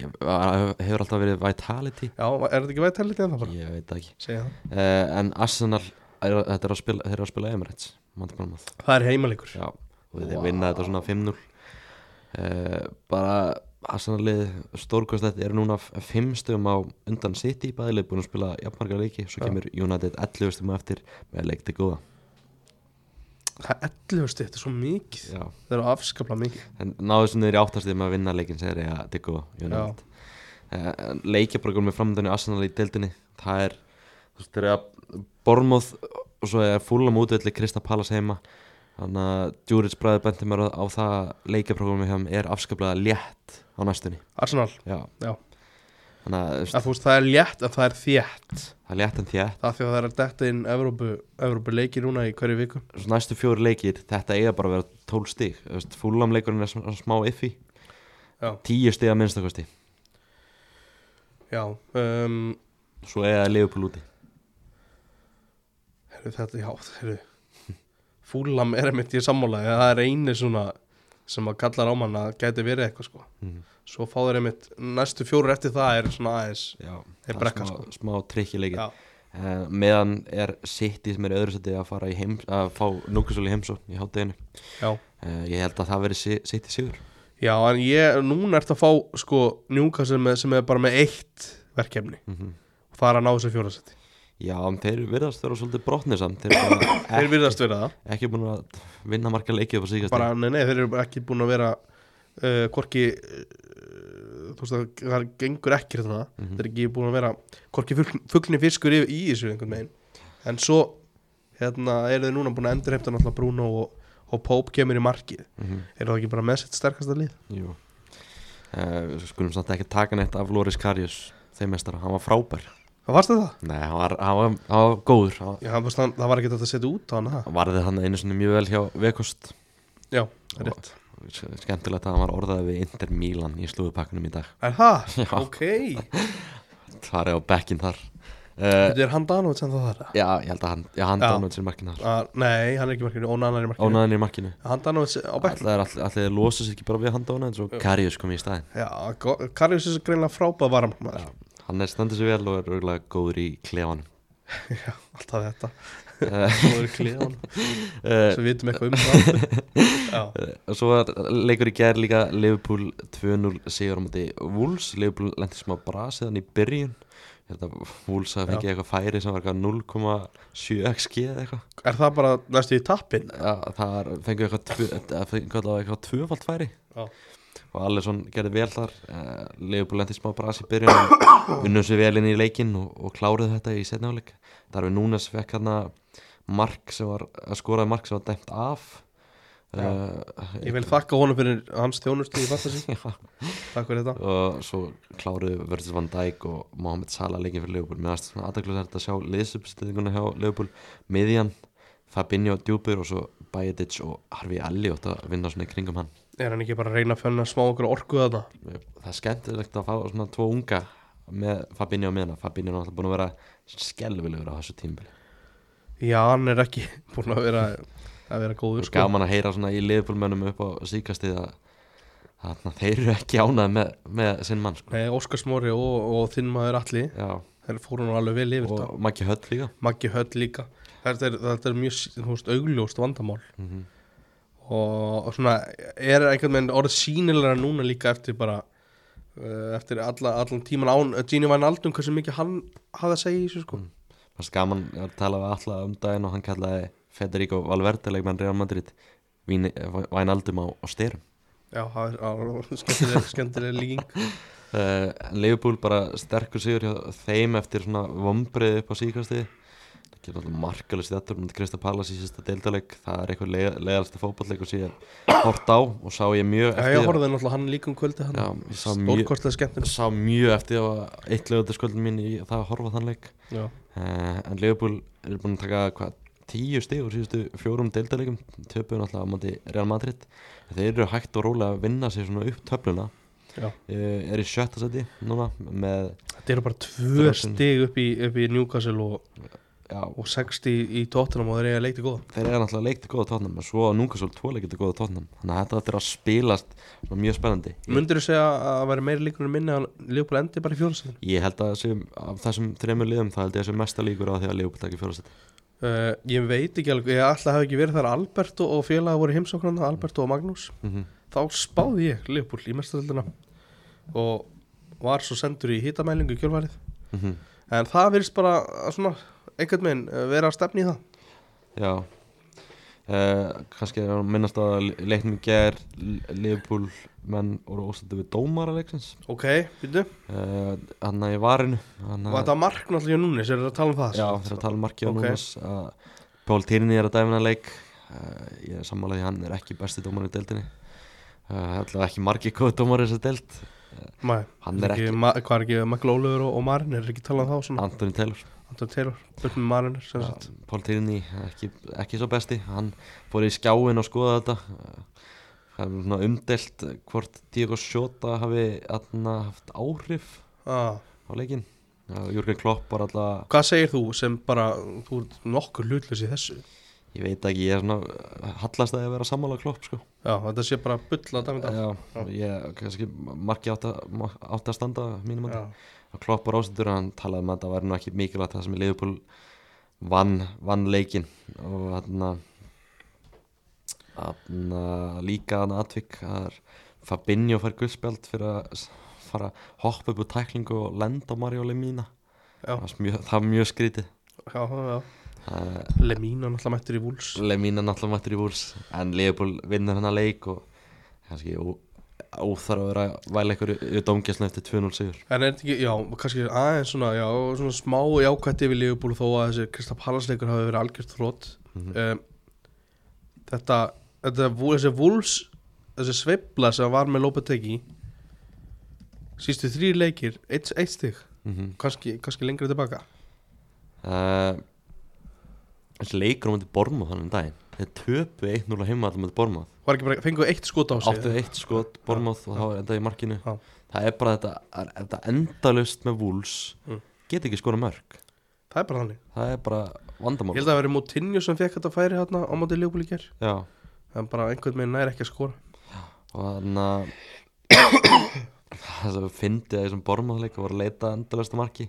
ég, hefur alltaf verið Vitality
Já, er þetta ekki vægt helviti en það bara?
ég veit það ekki
Segja það
uh, en Arsenal er, þetta er að spila, þeir eru að spila Emirates Monday Bournemouth
Það er heimalegur
já, og þeir
Vá.
vinna þetta svona 5-0 uh, bara Arsenal-lið stórkvæmstætt er núna 5 stöðum á undan City bæðilið búin að spila jafnmarga leiki svo
Já.
kemur United 11 stöðum eftir með leik til góða
Það er 11 stið, þetta er svo mikið
já.
Það eru afskapla mikið
en náðu sem þeir áttast þeim að vinna leikin segir ég að diggu United uh, leikjabrögum með framöndunni Arsenal í deildinni það er þú veist þeir eru að Bormóð og svo er fúlam útvelli Krista Palas heima þannig að Djúrits bræður benti mér á á það að leikjabrögum með hann er afskaplega létt á næstunni
Arsenal,
já,
já
þannig að þú veist,
að, Þú veist, það er létt en það er þétt
það er létt en þétt
Það er því að það er að detta inn Evrópu, Evrópu leiki núna í hverju viku
svo næstu fjóri leikir, þetta eiga bara að vera 12 stig, þú veist, fúlam leikurinn er sm- smá iffi,
Já.
10 stig að minnstakosti,
Já um,
svo eiga Liverpool úti
Herru, þetta, já, herru Fúlam er einmitt í sammálaði það er eini svona sem að kallar á mann að gæti verið eitthvað sko
Mhm.
svo fá þeir einmitt, næstu fjóru eftir það er svona aðeins
já, það
Þeir
er
brekka, sko.
smá, smá trikkileikir
Já.
uh, meðan er City sem er í öðru seti að fara í heims að fá Núkasól í heimsó í hátteginu
já.
uh, ég held að það veri si City sigur
já, en ég, núna ertu að fá sko njúka sem, er- sem er bara með eitt verkefni,
mm -hmm.
fara að ná þessu fjórasetti
já, en þeir virðast vera svolítið brotnir samt þeir eru bara
þeir
ekki,
virðast vera það,
ekki búin að vinna marga leikið upp á síkast
bara, nei, nei, þeir eru ekki búin að vera uh, hvorki uh, þú veist að það gengur ekki þarna, þeir eru ekki búin að vera hvorki fugl, fuglni fiskur í, í þessu einhvern veginn, en svo hérna eru þeir núna búin að endurheimta náttúrulega Bruno og, og Pope kemur í markið
mm -hmm.
eru það ekki bara með sitt sterkasta lið
jú uh, skulum samt ekki taka neitt af Loris Karius þeim mestara, hann var frábær
það varst það?
nei, hann var, hann var, hann var góður hann
Já, það, varst, það, það var ekki þetta að setja út á hana það.
hann varði hann einu sinni mjög vel hjá Vekost
já, það er rétt
skemmtilegt að hann var orðaði við Inter Milan í slúðupakkunum í dag
er það?
Já.
ok
það er á bekkinn þar uh,
þetta er hann Danovits en það þar
Já, ég held að hann, já, hann
Já.
dánuð sér markinu þar
að, nei, hann er ekki í markinu, Ónan er í markinu
Ónaðin í markinu
hann Danovits á bekk
Alltaf er allir, allir losa sér ekki bara við hann dánuð En svo Karius kom í staðinn
já, Karjus er greinlega frábæð varamæður
Hann er stendur sér vel og er auðvitað góður í klefanum
Já, alltaf þetta
Eh.
Svo er klíðan
uh,
Svo við vitum eitthvað um það Já,
Eh, Svo var leikur í gær líka Liverpool 2-0 sigur á móti Wolves Liverpool lendi smá brasiðan í byrjun Ég held að Wolves hafi fengið eitthvað færi sem var eitthvað 0,7 xg eða eitthvað
er það bara næstu í tappin?
Já, það var- fengu eitthvað tvö- eða fengu allavega eitthvað tvöfald færi
Já,
og Allison gerði vel þar uh, Leifbúl lendi smá bras í byrjun en unnum sér vel inn í leikinn og, og kláruð þetta í setna áleik þar við núna svekk hann mark sem var, að skoraði mark sem var dæmt af uh,
ég vil þakka honum fyrir hans þjónustu í fantasi
Já.
Takk fyrir þetta
og svo kláruðu Virtus van Dijk og Mohamed Salah leikin fyrir Leifbúl mér varst svona aðdæklusært að sjá liðsupstiltinguna hjá Leifbúl miðjan Fabinho Djúbur og svo Bajetic og Harfi Elliot að vinna svona í kringum hann
Er hann ekki bara að reyna að fjönna smá okkur orku þarna?
það er skemmtilegt að fá svona tvo unga með Fabinho og miðna Fabinho er náttúrulega búin að vera skelvilegur á þessu tímbili
Já, hann er ekki búin að vera að vera góður
og
sko
gaman að heyra svona í liðbólmönnum upp á síkastið að þarna, þeir eru ekki ánað með, með sinn mann sko.
Nei, Óskar Smári og, og þinn maður Alli
Já,
Þeir fóru nú alveg vel yfir þetta
og Maggi Höll líka
Maggi Höll líka Þetta er, þetta er mjög þú veist, augljóst vandamál
mm -hmm.
og og svona er einhvern veginn orðið sínilega núna líka eftir bara uh, eftir alla, allan tíman án uh, Gini Van Aldum hversu mikið hann hafði að segja í þessu sko
Mm. Fannst gaman að tala við alla um daginn og hann kallaði Federico Valverde leikmann Real Madrid Vín, væn aldum á, á styrum
já, það er skemmtileg, skemmtileg líking
uh, Leifbúl bara sterkur sigur hjá þeim eftir svona vombrið upp á síkastið Getur alltaf markalist þetta um Krista Pallas í sérsta deildaleg Það er eitthvað leiðalsta fótballleik og sé ég hort á og sá ég mjög
Já,
eftir
ég horfði náttúrulega á hann líka um kvöldi
Já,
hann
ég sá mjög-
Stórkostlega skemmtinn
sá mjög eftir að eitt lögutaskvöldin mín í það að horfa á þann leik
Já,
uh, en Leopold er búin að taka hvað, tíu stig úr síðustu fjórum deildarleikum töpuðu náttúrulega á móti Real Madrid þeir eru hægt og rólega að vinna sér svona upp töfluna
já
uh, er í sjötta seti núna með
Þetta eru bara tvö
Þrjátíu.
stig upp í, upp í Newcastle og,
já,
og 60 í tóttunum og þeir eiga leikti góða
þeir eru náttúrulega leikt í góða tóttnum og svo núka svolítið tvoleik í góða tóttnum þannig að þetta ættir að spilast svona mjög spennandi ég,
Mundur þú segja að það væri meiri líkur en minni að Leopold endi bara í fjóðsendinu?
ég held að sem, af þessum þremur liðum það held ég að sem mesta líkur á því að Leopold takir fjóra seti
Uh, ég veit ekki alveg, ég alltaf hafi ekki verið þar Alberto og félaga voru heimsóknan Alberto og Magnús,
mm -hmm.
þá spáði ég Leopold í mestaröldina og var svo sendur í hitamælingu í kjölvarið,
Mhm.
en það virðist bara að svona, einhvern veginn eh, vera að stefni í það
Já uh, Kannski er að minnast á að leiknum ger Liverpool menn og óstættu við dómara leiksins
Ok, býttu,
uh, Þannig að ég varinu Þannig
og þetta mark náttúrulega núni, sér þetta að tala um það
Já,
sem sagt.
þegar að tala um markið á
Ok.
okay. núnes uh, Pál Týrni er að dæmina leik uh, Ég er sammálaði hann er ekki besti dómar í deildinni uh, Alltaf ekki margir góð dómar í þessar deild
Nei,
Hann er
ekki,
ekki-
ma- hvað er ekki, Michael Oliver og, og Marin er ekki talað um þá svona,
Anthony Taylor
Anton Taylor, börn með Marin sem
Já,
sagt,
Pál Týrni, eh, ekki, ekki svo besti Hann fór í skjáin og skoða þetta Uh, Það er svona umdelt hvort Diego Sjóta hafi atna, haft áhrif
ah.
á leikinn Já, Jürgen Klopp var alltaf,
Hvað segir þú sem bara, þú ert nokkur hlutlis í þessu?
ég veit ekki, ég er svona uh, hallast að ég að vera sammála Klopp sko
Já, þetta sé bara bulla dæmi dag.
Já, ég, kannski marki átt að, átt að standa að mínum
Já,
að Klopp var ástættur hann talaði um að það væri nú ekki mikilvægt það sem Liverpool vann, vann leikinn og hann að líka hann atvik að Fabinho fær guðspjald fyrir að s- fara að hoppa upp úr tæklingu og lenda á Mario Lemina
Já.
það var mjög, það var mjög skrítið
já, já.
það er
Lemina náttúrulega mættur í vúls.
Lemina náttúrulega mættur í vúls en Leopold vinnur hennar leik og kannski ó- óþarf að vera að væla ykkur í domgjæsna eftir 2-0 sigur
En er þetta ekki, já, kannski aðeins svona, já, svona smá jákvætt yfir Liverpool þó að þessi Kristap Hallandsleikur hafi verið algjört þrótt.
Mhm.
um, þetta, þetta, vú- þessi vúls, þessi sveifla sem var með Lopetegi, sístu þrýr leikir, eitt, eitt stig,
mm -hmm.
kannski, kannski lengri tilbaka.
uh, þessi leikur á mætti Bormáð þannig um daginn þeir töpu 1-0 á heima allir mætti Bormáð
Var ekki bara, fenguðu eitt skot á sig?
áttu eitt skot Bormáð og það var endað í markinu
Já.
það er bara þetta, er- þetta endalust með vúls
Mm.
get ekki skora mörg
Það er bara þannig.
það er bara
Ég
vandamál
held að það verið Moutinho sem fekk þetta færi hérna á móti Liverpool í gerð.
Já,
en bara einhvern veginn næri ekki að skora
og þannig að það sem fyndi að þessum bormaðleika voru að leita endalasta marki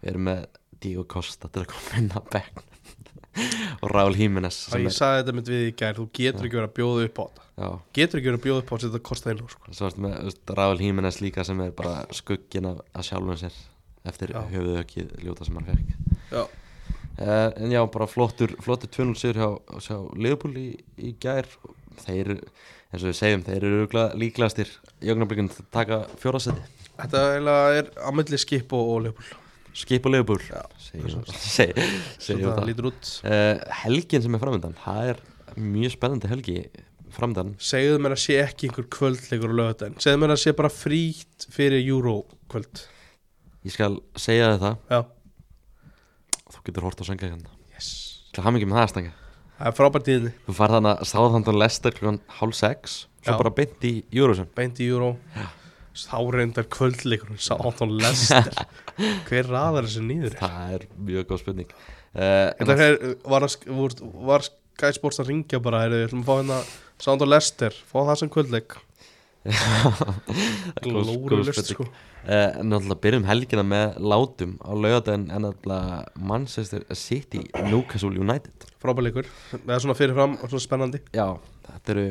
við erum með Diego Costa til að koma inn að bekk og Raúl Jiménez
og
sem
ég
er,
sagði þetta mynd við í gær, þú getur ekki verið að bjóða upp á þetta
já,
getur ekki verið að bjóða upp á þetta kostaði nú sko.
svo ertu með þú veist, Raúl Jiménez líka sem er bara skuggin af, af sjálfum sér eftir
Já.
höfuðökið ljóta sem hann fekk
já,
uh, en já, bara flottur flottur 2-0 sigur hjá, hjá Leopold í, í gær þeir eru, eins og við segjum, þeir eru örugglega líklegastir í augnablikun til að taka fjórasetti
þetta eiginlega er á milli skip og, og leifbúl
skip og leifbúr
Já,
segjum seg,
sem
segjum
það
það
lítur út
uh, helgin sem er framöndan það er mjög spennandi helgi framöndan
segðu mér að sé ekki einhver kvöldleikur og lögðan segðu mér að sé bara frítt fyrir júró kvöld
ég skal segja þér það,
já,
þú getur hort á sönga hérna
yes
til hafa mikið með það stanga
það er frábært í þinni,
þú farð þannig að sáðhandun lesta klukkan hálf sex svo
Já.
bara beint í Júrúsum
beint í júró þá reyndar kvöldleikur sá áttan lester hver raðar þessu nýður
það er mjög góð spurning uh,
Þetta er, var, að sk- voru- var Sky Sports að ringja bara, heyrðu, við ætlum að fá hérna Sound og Lester, fá það sem kvöldleik Glórulust sko
Uh, náttúrulega byrjum helgina með látum á laugardaginn en náttúrulega Manchester City Newcastle United
Frábæleikur, það er svona fyrirfram og svona spennandi
Já, þetta eru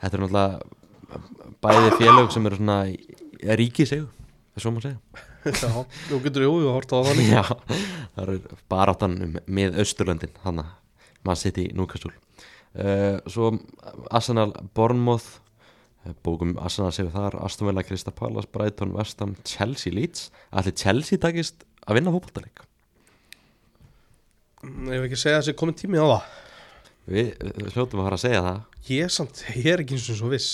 þetta eru náttúrulega bæði félög sem eru svona í- ríkiseigu, það er svo maður segja
Já, þú getur jú, þú horta á það líka
Já, það eru baráttan um, með Östurlöndin, hana mann sitt í Núkastúl uh, Svo Arsenal Bournemouth eh, bókum Arsenal segur þar Aston Villa, Krista Pallas, Brighton, Vestam Chelsea, Leeds, allir Chelsea takist að vinna fótballtaleik
ef ekki að segja að sé komin tími á það
Við við hljótum að fara að segja það
ég, samt, ég er ekki eins og svo viss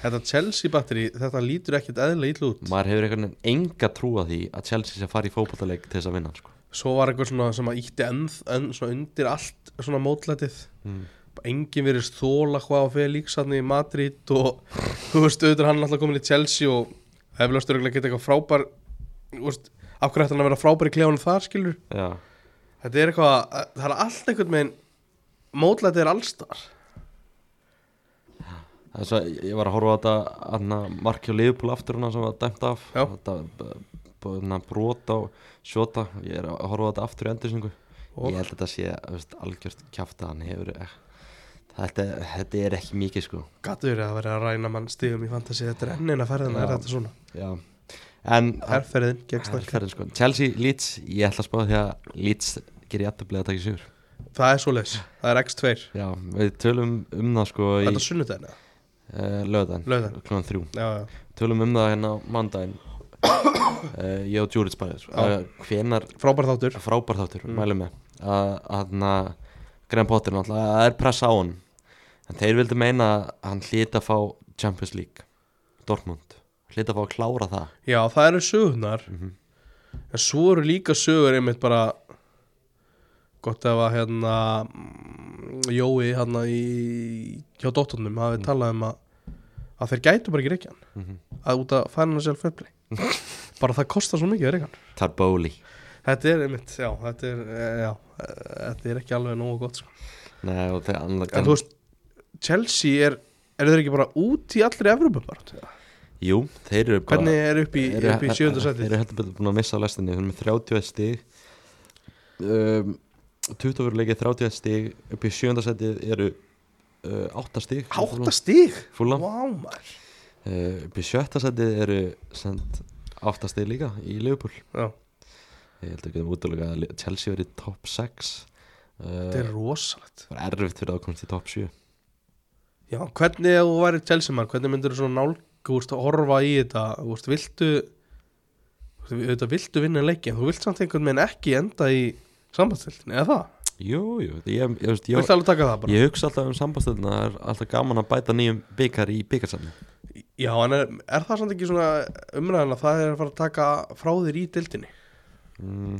þetta Chelsea batteri, þetta lítur ekkit eðla ítlu út
Maður hefur einhvern veginn enga trú að því að Chelsea sé að fara í fótballtaleik til þess að vinna hann, sko.
svo var eitthvað svona sem að ítti enn, enn svona undir allt svona mótlætið
mm.
enginn verið þóla hvað á Felix hann í Madrid og þú veist, auðvitað er hann alltaf komin í Chelsea og eflaust örgulega geta eitthvað frábær þú veist, af hverju ætti hann að vera frábær í klefanum þar skilur,
Já,
þetta er eitthvað það er allt einhvern veginn mótlætið er allstar
þess að ég var að horfa á þetta aðna Markjó Leifupúl aftur hana sem var dæmt af
Já.
Þetta hana, brot á sjóta Ég er að horfa á þetta aftur í endursingu
Og-
Ég held að þetta sé þú veist, algjört kjafta hann hefur eh, þetta, þetta er ekki mikið sko
Gattur verið að vera að ræna mann stigum í fantasi Þetta er enn eina ferðina,
Já.
er þetta svona
Já, en
Herferðin, gegn
Það er
snarka
ferðin sko Chelsea, Leeds, ég ætla að spá því að Leeds gerir jættabli að taka sigur
Það er svo það er x2
Já, við tölum um það sko í
Þetta er sunnudaginn, eða?
uh, löðan
laugardaginn.
klukkan þrjú
já, já,
Tölum um það hérna á mándaginn uh, Ég og Júrits bæðið sko.
Já.
uh, Hvenar
frábær þáttur
frábær þáttur,
Mm.
mælum við að hann að Graham Potter náttúrulega, það er pressa á hann en þeir vildu meina að hann hlýta að fá Champions League Dortmund, hlýta að fá að klára það
Já, það eru sögurnar
Mhm.
En svo eru líka sögur einmitt bara Gott ef að hérna mm, Jói hérna í Hjá dóttunum hafi
Mhm.
talað um að Að þeir gætu bara ekki reykjan Að út að færa hann sjálf fjöfli Bara það kostar svo mikið að reykjan
Tarbóli
Þetta er einmitt, já Þetta er, eh, já, eh, þetta er ekki alveg nógu gott sko.
Nei, og þeir, en,
En þú veist, Chelsea er Er þeir ekki bara út í allri Evrópu bara?
Jú, þeir eru bara
Hvernig er upp í,
Eru-
upp í sjöndu
Þeir
sætið?
eru heldur betur búin að missa á lestinni Þeir eru með 31 stig um, 20 fyrir leikið 31 stig upp í sjönda setið eru uh, 8 stig
Hátta stig?
Fúlam uh,
Vá maður
Eh, upp í sjötta setið eru send 8 stig líka í Liverpool
Já,
Ég held að við getum útlöka að Le- Chelsea verið top 6 uh,
þetta er rosalegt
Það var erfitt fyrir að komast í top 7
Já, hvernig ef þú væri Chelsea-mann, hvernig myndir þú svona nálgúst að horfa í þetta Þú veist, viltu þú veist, auðvitað viltu vinna leikin, þú vilt samt einhvern veginn ekki enda í sambandstildin, eða það?
Jú, jú, ég, ég, ég, veist,
Viltu
ég,
alveg taka það bara?
ég hugsa alltaf um sambastöðuna Það er alltaf gaman að bæta nýjum byggar í byggarsamni
Já, en er, er það samt ekki svona umræðan að það er að fara að taka frá þér í dildinni?
mm,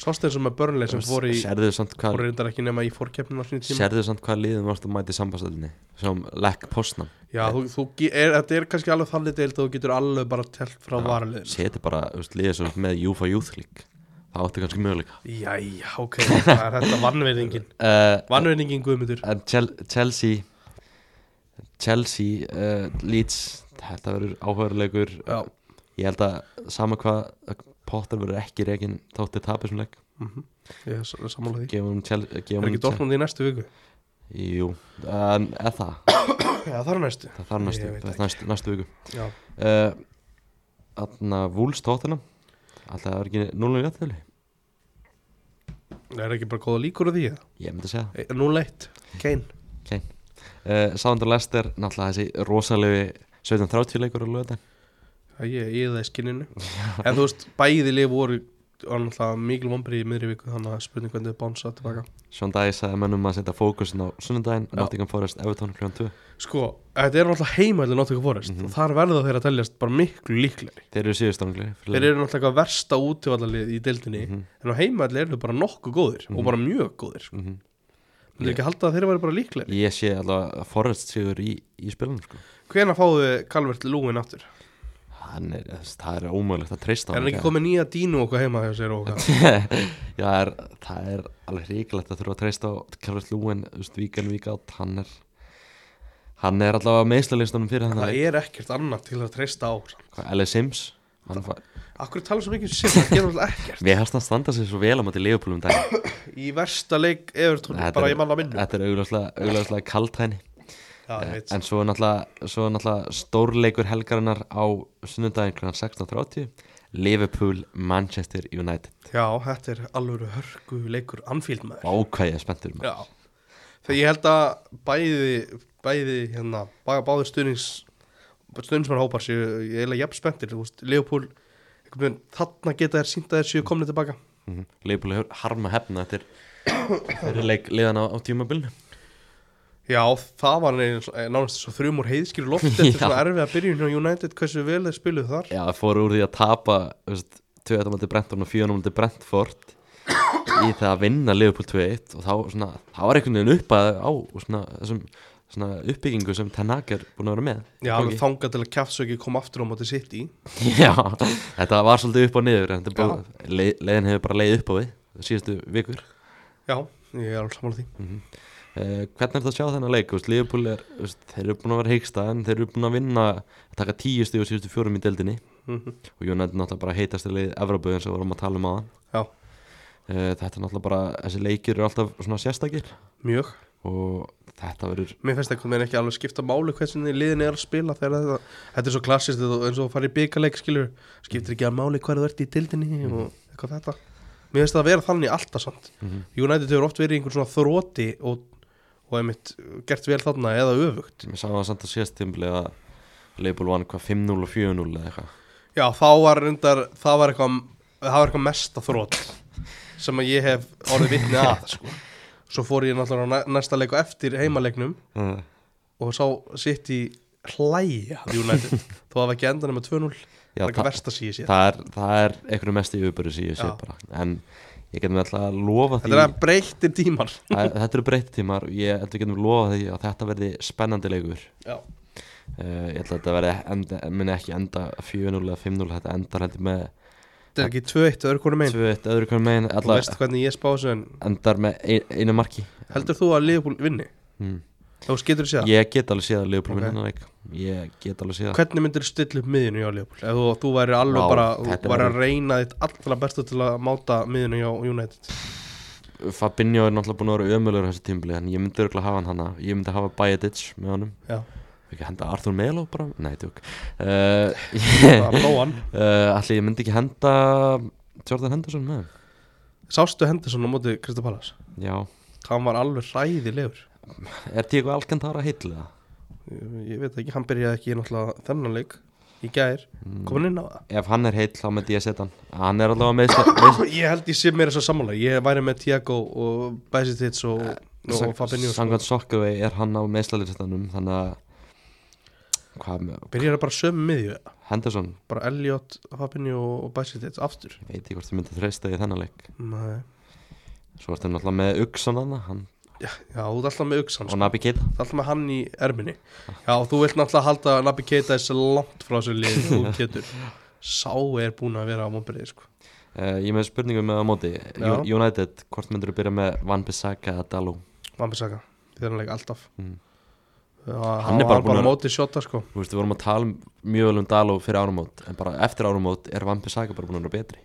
Sást eins og með börnleik sem fór í
Serðu samt hvað
fór reyndar ekki nema í fórkeppninu á sinni tíma
Serðu samt hvað liðum varst að mæta í sambandstöldinni sem Lekk Postnam
Já, þú, þú, ge- er, þetta er kannski alveg þannig deild að þú getur alveg bara telt frá varaliðin
seti bara þú veist, liðið sem með Júfa Youth League það átti kannski möguleika
Jæja, ok, það er þetta vannverðingin
uh,
Vannverðingin Guðmundur
en Chel Chelsea Chelsea uh, Leeds þetta verður áhverjuleikur
Já.
ég held að sama hvað Potter verður ekki reygin þótti tapir sem leik
Mhm. Ég er sam- sammála því
gefum Chelsea
Er
gefum
ekki Dortmund í næstu viku?
jú en er það
Já, það er næstu
það þarf næstu
Ég veit
það
ekki.
er næstu, næstu viku
Já,
uh, Þannig að Vúls tóttina Alltaf það er ekki 0 jættölu
er ekki bara góða líkur á því eða?
Ég myndi að segja
E- 0-1, Kane
okay. uh, Sándar Lester, náttúrulega þessi rosalegu 17-30 leikur á löðan
Það Ég ég það í skinninu En þú veist, bæði lið voru var náttúrulega mikil vombri í miðri viku þannig að spurning hvernig þau bánsa tilbaka
Sjón Dæi sagði mönnum að setja fókusin á sunnudaginn
Já.
Nottingham Forest, Everton kl. 2
Sko, þetta eru náttúrulega heimæli Nottingham Forest og þar verða þeir að teljast bara miklu líklegri
Þeir eru síðustangli
Þeir eru náttúrulega eitthvað versta útivallalið í deildinni en á heimæli eru þau bara nokkuð góðir og bara mjög góðir sko.
Mhm.
Myndirðu ekki halda að þeir væru bara líklegri
Ég sé allavega að Forest sigur í, í spilunum sko.
Hvena fáðu Calvert Lúin aftur?
Hann er, þess- það er ómögulegt að treysta
Er hann ekki komið nýja dínu okkur heima hjá sér og okkar?
Já, það er, það er alveg ríkilegt að þurfa að treysta á Kjálfur Lúin, víkan, víkátt, hann er hann er allavega meðslalistunum fyrir hann
Það er ekkert annað til að treysta á
L.A. Sims hann fær-
Akkur tala svo mikið um sér, það gerum alltaf ekkert
Við hefst að standa sér svo vel á móti um Leopoldum dag
Í versta leik Evertón,
Þetta
bara
er-
ég manna minnu
Þetta er augljóslega, augljóslega kaltæni
Já, ég veit
En svo er náttúrulega, svo er náttúrulega stórleikur helgarinnar á sunnudaginn kl. 16.30 Liverpool, Manchester United
Já, þetta er alveg hörgu leikur Anfield maður
Ákvæðið spenntur maður
Já Þegar ég held að bæði bæði hérna, bæði báði stuðnings stuðningsmann hópar séu ég eiginlega jafn spenntir, þú veist, Leopold einhvern veginn, þarna geta þær sínt að þær séu komnið tilbaka
mm -hmm. Leifbúli hefur harma hefna eftir fyrir leik liðan á, á tímabilnu
Já, það var eins- nánast svo þrjum úr heiðskýru loft eftir
Já.
svona erfið að byrjun hjá United hversu vel þeir spiluð þar
Já, fóru úr því að tapa þú veist, 2-1 mútið Brenton og 4-1 mútið Brentford í það að vinna Liverpool 2-1 og þá, svona, þá var einhvern veginn upp að á svona, þessum svona uppbyggingu sem Tanaka er búin að vera með
Já,
Gangi.
alveg þangað til að kjafsöki kom aftur á móti sitt í
Já, þetta var svolítið upp og niður en þetta er bara, leið, leiðin hefur bara leið upp á við síðustu vikur
Já, ég er alveg sammála því
Uh, hvernig er þetta að sjá þennan leik? Þú veist, Liverpool er, þú veist, þeir eru búin að vera heiksta en þeir eru búin að vinna að taka tíu stíu og síðustu fjórum í deildinni
Mhm.
og United náttúrulega bara heitast í leið Evropu eins og við vorum að tala um aðan
Já,
uh, þetta er náttúrulega bara, þessi leikir eru alltaf svona sérstakir
mjög
og þetta verður
Mér finnst einhvern veginn ekki alveg skipta máli hvernig liðin er að spila þegar þetta, þetta er svo klassist eins og að fara í byggarleik skilur skiptir ekki að máli hvar þú ert í dildinni og eitthvað þetta Mér finnst það að vera þannig alltaf samt
Mhm.
United hefur oft verið í einhvern svona þróti og, og einmitt gert vel þarna eða öfugt
ég sá það samt að síðast tímbli að Liverpool vann hvað 5-0 og 4-0 eða eitthvað
Já, þá var reyndar, það var eitthvað það var eitthvað mesta þrót sem að ég hef orðið vitni að sko. Svo fór ég náttúrulega á næ- næsta leik og eftir heimaleiknum
uh,
og sá sitt í hlæja að United þó að það var ekki endan með 2-0 það
já,
er
það,
eitthvað versta síðan síðan
það er, það er einhvern mest í uppbyrðu síðu sé
Já.
bara en ég getum alltaf að lofa því
Þetta er að breytir tímar
að, þetta eru breyttímar og ég held við getum lofa því að þetta verði spennandi leikur
Já,
Uh, ég held að þetta verði enda, muni ekki enda 4-0 eða 5-0, þetta endar heldur með
þetta er ekki 2-1 öðru konum einn
2-1 öðru konum megin,
Þú
alla
veist hvernig ég spá þessu en
endar með ein, einu marki
heldur þú að Liverpool vinni?
mm.
Þá skilur þú séð
ég get alveg séð að Leopold
Ok.
okay. vinna leik ég get alveg séð að
Hvernig myndir þú stilla upp miðinu hjá Liverpool? Ef þú, þú væri alveg
Vá,
bara,
þetta
þú væri að
verður-
reyna þitt allra bestu til að máta miðinu hjá United
Fabinho er náttúrulega búin að vera ömulur þessu tímbli, en ég myndi örgulega hafa hann hana ég myndi hafa Bajedic með honum
Já,
ekki henda Arthur Melo bara, nei, tjók uh,
það var blóan
uh, allir ég myndi ekki henda Jordan Henderson með honum.
Sástu Henderson á móti Krista Pallas
já,
Hann var alveg hræðilegur
er Diego Alcantara heitlega?
ég, ég veit ekki, hann byrjaði ekki í náttúrulega þennan leik Í gær,
Mm.
kom hann inn á það
ef hann er heill þá myndi ég setja hann hann er allavega meðsla,
Ég held ég sé mér þess að sammála Ég væri með Tiago og Bæsitits og,
Eh,
og Fabinho sko.
Sangan Sokkavei er hann á meðslalistanum þannig að hvað með
Byrjar það bara sömu miðju
Henderson,
Bara Elliot, Fabinho og Bæsitits aftur
ég veit ekki hvort þið myndi þreista í þennan leik
Nei.
svo er þetta náttúrulega með Uxan hann, hann
Já, þú ert alltaf með Uxan
og
sko.
Nabi Keita
Það er alltaf með hann í erminni Já, og þú vilt náttúrulega halda Nabi Keita þessi langt frá þessu lið og getur Sá er búin að vera á mómbriði sko.
uh, ég er með spurningu með á móti
Já.
Ju- United, hvort myndur þú byrja með Van Bissaka eða Dalú
Vambisaka, þegar hann leik alltaf
Mm.
Já,
Hann er bara búinn
bara
að-
mótið sjóta sko
þú veist, við vorum að tala um, mjög vel um Dalú fyrir árumót en bara eftir árumót er Van Bissaka bara búin að vera betri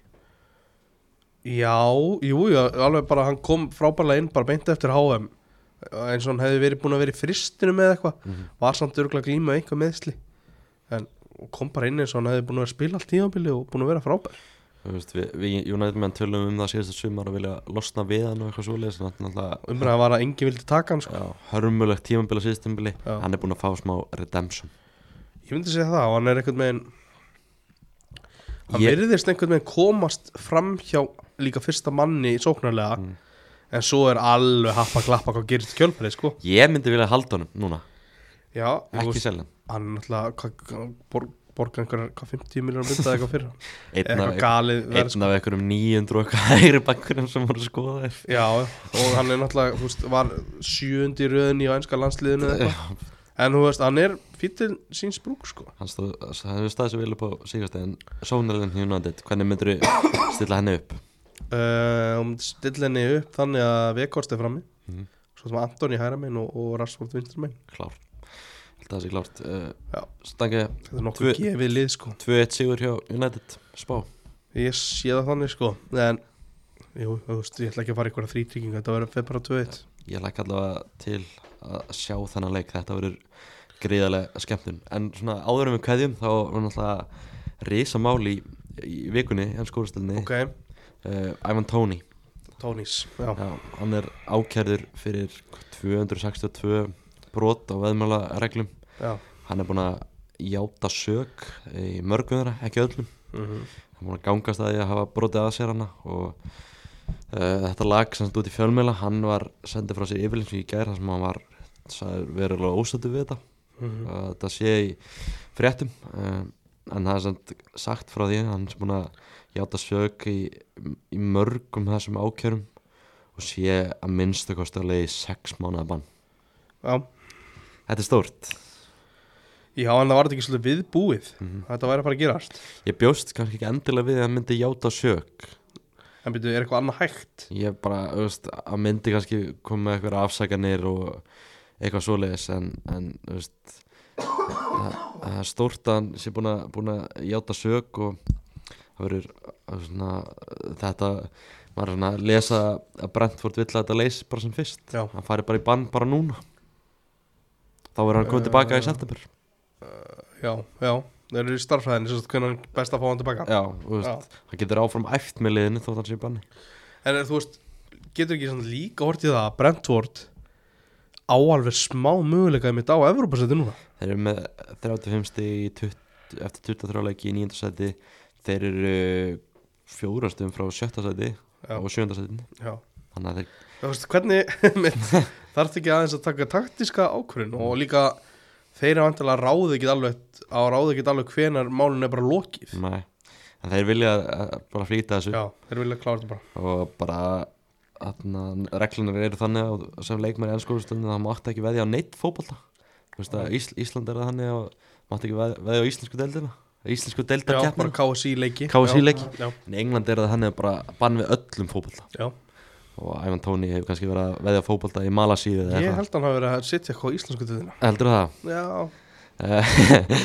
Já, jú, jú, alveg bara hann kom frábærlega inn bara beint eftir HM eins og hann hefði verið búin að vera í fristinu með eitthvað,
Mhm.
var samt örgulega glíma eitthvað meðsli, en kom bara inn eins og hann hefði búin að vera að spila allt tíðanbili og búin að vera frábær.
Þú veist, við, við United menn tölum um það síðustu sumar að vilja losna við hann og eitthvað svoleiðis en þetta er náttúrulega
Umræða var að enginn vildi taka hann sko.
Já, hörmulegt tímabili og síðstímabili
Já.
hann er búinn að fá smá redemption
Ég myndi segja það og hann er einhvern veginn hann
Ég-
virðist einhvern veginn komast fram hjá líka fyrsta manni sóknarlega
Mm.
en svo er alveg happa klappa hvað gerist kjölpæli sko.
ég myndi vilja halda honum núna
Já, ég veist-
ekki selja hann
hann er náttúrulega hvað- hvað- borg, borga einhverjar, hvað 50 miljónar mynda eitthvað fyrir hann?
einn
eitthvað
af,
galið verð sko.
einn af einhverjum 900 og eitthvað hægri bakkurum sem voru skoðaðir
já, og hann er náttúrulega þú veist, var sjöundi röðin í ænska landsliðinu eða eitthvað. en þú veist, hann er fyrir til sín sprúk sko.
hann stóð, hann hefur staðið sem vilja på síðast en Sónarlinn United, hvernig myndir við stilla henni upp
uh, um stilla henni upp þannig að Vekhorst er frammi
Mhm.
svo sem Antoni hæra minn og, og Rashford vinstra minn
klár, held að það sé klárt
Já.
uh, stangið
þetta er
Tvö-
nokkuð gefið lið sko
2-1 sigur hjá United spá,
ég sé það þannig sko en Jú, þú veist, ég ætla ekki að fara í einhverja þrítrygginga, þetta verður februar 2-1
ég læk allavega til að sjá þennan leik, þetta verður gríðarlega skemmtun en svona áður en við kveðjum þá var náttúrulega risa máli í, í vikunni, hans skóristilni
Ok,
uh, Ivan Tóni
Tónís, já,
Já, hann er ákærður fyrir 262 brot á veðmála reglum
já.
hann er búinn að játa sök í mörgum þeirra, ekki öllum
Mm
Hann hann var að gangast að því að hafa brotið að sér hana og uh, þetta lag sem stúti í fjölmiðla, hann var sendið frá sér yfirlýnsu í gær þar sem hann var sagður verulega ósættu við þetta
Mhm.
að þetta sé í fréttum um, en það er samt sagt frá því hann sem búin að játa sök í, í mörgum þessum ákjörum og sé að minnstu kostulegi sex mánuða bann
Já,
þetta er stórt
já en það var þetta ekki svolítið viðbúið
Mhm.
Þetta væri að fara að gerast
ég bjóst kannski ekki endilega við að hann myndi játa sök
En byrju, er eitthvað annað hægt?
ég bara, þú veist, að myndi kannski koma með eitthvað afsakanir og eitthvað svoleiðis en, en þú veist það það er stórt að hann sé búin að, búin að játa sög og það verður uh, svona, þetta maður er svona að lesa að Brentford vill að þetta leysi bara sem fyrst
Já.
hann fari bara í bann bara núna þá verður hann komið tilbaka í
Eh,
september
Já, já, það eru í starfræðinni svo hvernig er best að fá hann tilbaka
já, þú veist, hann getur áfram æft með liðinu þótt hann sé í banni
En er, þú veist, getur ekki svona líka hortið það að Brentford á alveg smá möguleikaði mitt á Evropasæti núna
Þeir eru með 35 stig í 20, eftir 23 leiki í 9. seti Þeir eru fjórastum frá 7. seti
Já.
og 7. seti
Já
Þannig að þeir,
Þú veist, hvernig þarf ekki aðeins að taka taktiska ákvörðin og líka þeir eru vantilega ráði ekki alveg á ráði ekki alveg hvenar málun er bara lokið
mæ, en þeir vilja eh, bara flýta þessu
Já, þeir vilja klára þetta bara
og bara atna, reglunar eru þannig að sem leikmenn í ennskólustunni það mátt ekki veðja á neitt fótbolta Þú veist að Ís, Ísland er það þannig að mátt ekki veðja, veðja á íslensku deildina íslensku
Já,
deildarkeppnina
bara KSI leiki
KSI leiki.
Já,
en í England er það þannig að bara bann við öllum fótbolta
já,
og Ævan Tóni hefur kannski verið að veðja á fótbolta í Malasíðu eða
ég
eitthvað.
held að hann hafi verið að sitja eitthvað á íslensku töðina
Heldur það?
Já,
Eh,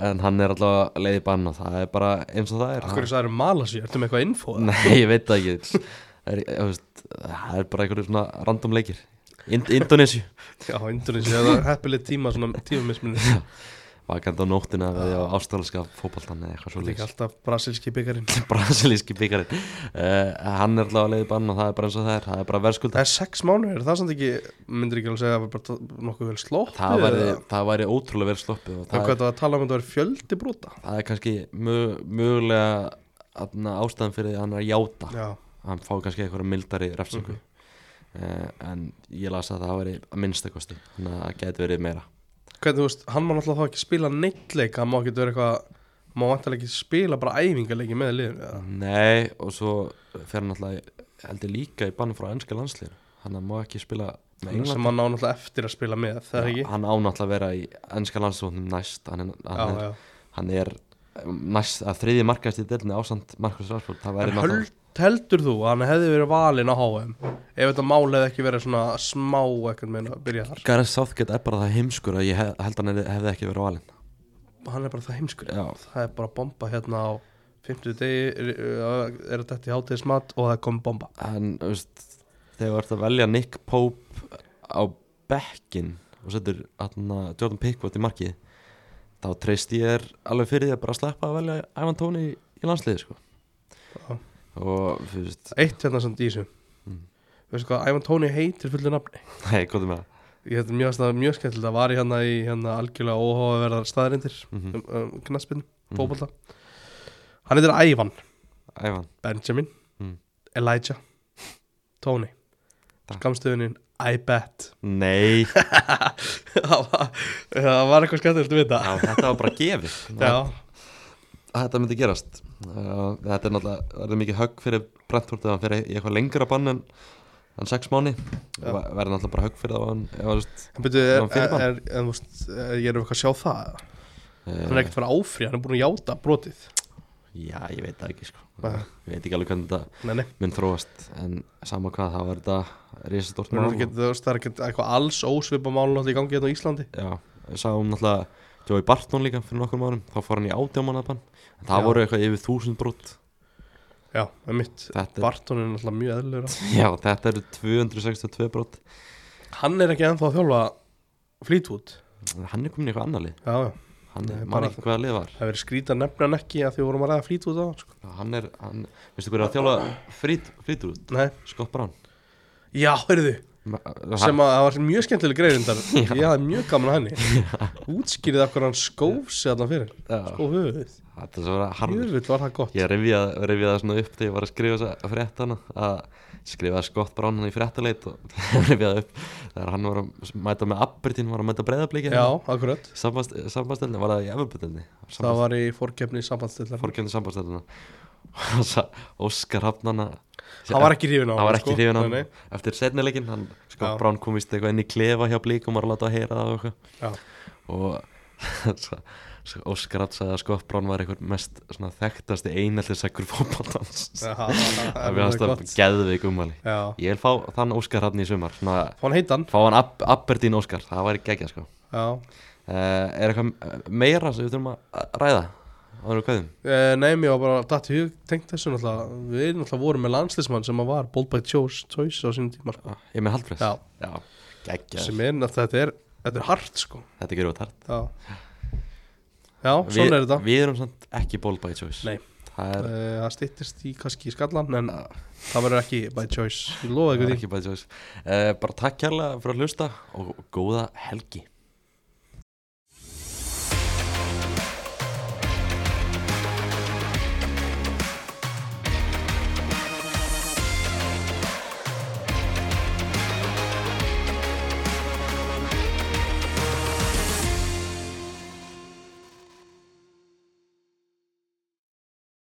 en hann er alltaf leiði bann og það er bara eins og það er
akkur er það eru Malasi, ertu með eitthvað info? eða?
Nei, ég veit það ekki Það er, þú veist, það er bara einhverju svona random leikir Ind Indonesia
Já, Indonesia, það er heppileg tíma svona tífumisminu Þetta
Vakandi á nóttina að veðja á ástralska fótboltan eða eitthvað svo
er ekki alltaf brasilski byggarinn
Brasilíski byggarinn uh, Hann er alltaf leiði bann og það er bara eins og það er Það er bara
Það
verðskulda
er sex mánuðir, það er samt ekki, myndir ekki alveg segja að það var bara nokkuð vel slótt
Það væri, það væri ótrúlega verið sloppið og
Það er
það,
hvað það var að tala um að það var fjöldi brota
er, það er kannski mö- mögulega þarna, ástæðan fyrir því að hann er að játa
Já,
hann fá kannski einhverja mildari refsingu mm en ég las að það væri að minnstakosti þannig að það geti verið meira
hvernig þú veist, hann má náttúrulega þá ekki spila neittleik hann má ekki vera eitthvað, hann má vantilega ekki spila bara æfingaleiki með liðin eða?
Nei, og svo fer hann alltaf heldur líka í bann frá ennska landslýr þannig að hann má ekki spila með
Þannig
England
sem hann á náttúrulega eftir að spila með, það er ekki
hann án alltaf að vera í ennska landslýrnum næst hann er, hann
Já,
er,
já,
hann er eh, næst að þriði markast í delni ásand Markus Rásford það væri
en
náttúrulega
höld, heldur þú að hann hefði verið valinn á HM ef þetta mál hefði ekki verið svona smá ekkert meina að byrja þar
Gareth Southgate er bara það heimskur að ég hef, held hann hefði- hefði ekki verið valinn
hann er bara það heimskur
Já.
það er bara bomba hérna á 50 degi er, er þetta í hátíðismat og það kom bomba
en þú veist, þegar þú ert að velja Nick Pope á bekkin og setur atna, Jordan Pickford í markið þá treyst ég er alveg fyrir því að bara sleppa að velja Ivan Tóni í, í landsliði sko.
Já.
og þú veist
eitt hérna samt í þessu veistu hvað, Ævan Tóni heitir fullu nafni
nei, góðum með það
ég þetta er mjög, svona- mjög skemmtilegt að var í hérna í hérna algjörlega óháverðar staðarindir
Mhm.
um, um knaspinn, fótbolta hann heitir Ævan,
Ivan,
Benjamin
Mhm.
Elijah, Tóni Ah.
Takk.
skamstöðunin I bet
nei já,
það var- það var eitthvað skemmtilegt við þetta
þetta var bara gefið
já,
þetta myndi gerast uh, þetta er náttúrulega, það er mikið högg fyrir Brentford ef hann fyrir í eitthvað lengra bann en, en sex mánu
Já.
verður náttúrulega bara högg fyrir það ef hann, ef hann, ef
en byrju er,
Ná, fyrir
er,
bann.
er, er, þú veist, er, ég er eitthvað að sjá það eða?
hann,
hann er ekkert fyrir áfrí, hann er búin að játa brotið
Já, ég veit það ekki sko
Bara-
Ég veit ekki alveg hvernig þetta
nei, nei
mun þróast En sama hvað, það var þetta risastort
Nú, er ekki, þú veist, það er ekki eitthvað alls ósvipa málun í gangi hérna á Íslandi
Já, við sáum náttúrulega Joey Barton líka fyrir nokkur márum Þá fór hann í átjámanabann En það
Já.
voru eitthvað yfir þúsund brot
Já, með mitt,
Þetta er-
Barton er náttúrulega mjög eðlur
Já, þetta eru 262 brot
Hann er ekki ennþá að þjálfa Fleetwood
Hann er komin í eitthvað annar lið
Já, já,
Hann
Nei,
er,
bara-
maður ekki hvaða lið var
það verið skrýta nefna hann ekki að því vorum að ræða Fleetwood á hann sko.
Hann er, hann, veistu hver er að þjála frít, frítur út?
Nei,
Scott Brown
já, heyrðu sem að það var mjög skemmtileg greið reyndar ég hafði mjög gaman að henni útskýrið af hvernig hann skóf sig allan fyrir skóf höfuð,
Þetta er svo að vera harður
jöfull var það gott
Ég rifjaði rifjaði það svona upp þegar ég var að skrifa þessa frétt hana að skrifaði Scott Brown hann í fréttaleit og rifjaði upp þegar hann var að mæta með Aberdeen var að mæta breyðablíki
já, akkurat,
sambastelni, var það í Everbjörnni
það var í fórkefni sambandstillar,
fórkjöndu sambastelina og sa- Óskar Hafnana
hann var ekki hrifin á sko.
hann var ekki hrifin á
Nei,
hann eftir setnilegin hann sko
Já.
Brown komist eitthvað inn í klefa hjá blík og var að láta að heyra það og eitthvað
nei. Já.
og svo- svo Óskar Ratt sagði að Scott Brown var einhver mest svona, þekktasti eineltis ekkur fótballtans
Já,
það
það
við
var
hans það
gott
geðveik umvali
já,
ég vil fá þann Óskar Rattn í sumar svona,
fá hann heitan
fá hann Ab Aberdeen Óskar, það væri geggja sko.
já,
uh, er eitthvað eh, meira sem við þurfum að ræða áður og kveðum
Eh, Nei, mér var bara datt í hug tengt þessu náttúrulega Við náttúrulega vorum með landslismann sem að var Bold by Choice, Choice á sínum tíma sko.
ég er með haldfress
Já.
geggja,
sem er náttúrulega, þetta er, þetta er hart sko
þetta gerur þetta
Já, Já svona er þetta
við erum samt ekki ball by choice
Nei.
það er,
Eh, Það styttist í kannski í skallan en það verður ekki by choice Ég lofa
það er Eh,
ykkur því
ekki by choice uh, bara takk kærlega fyrir að hlusta og góða helgi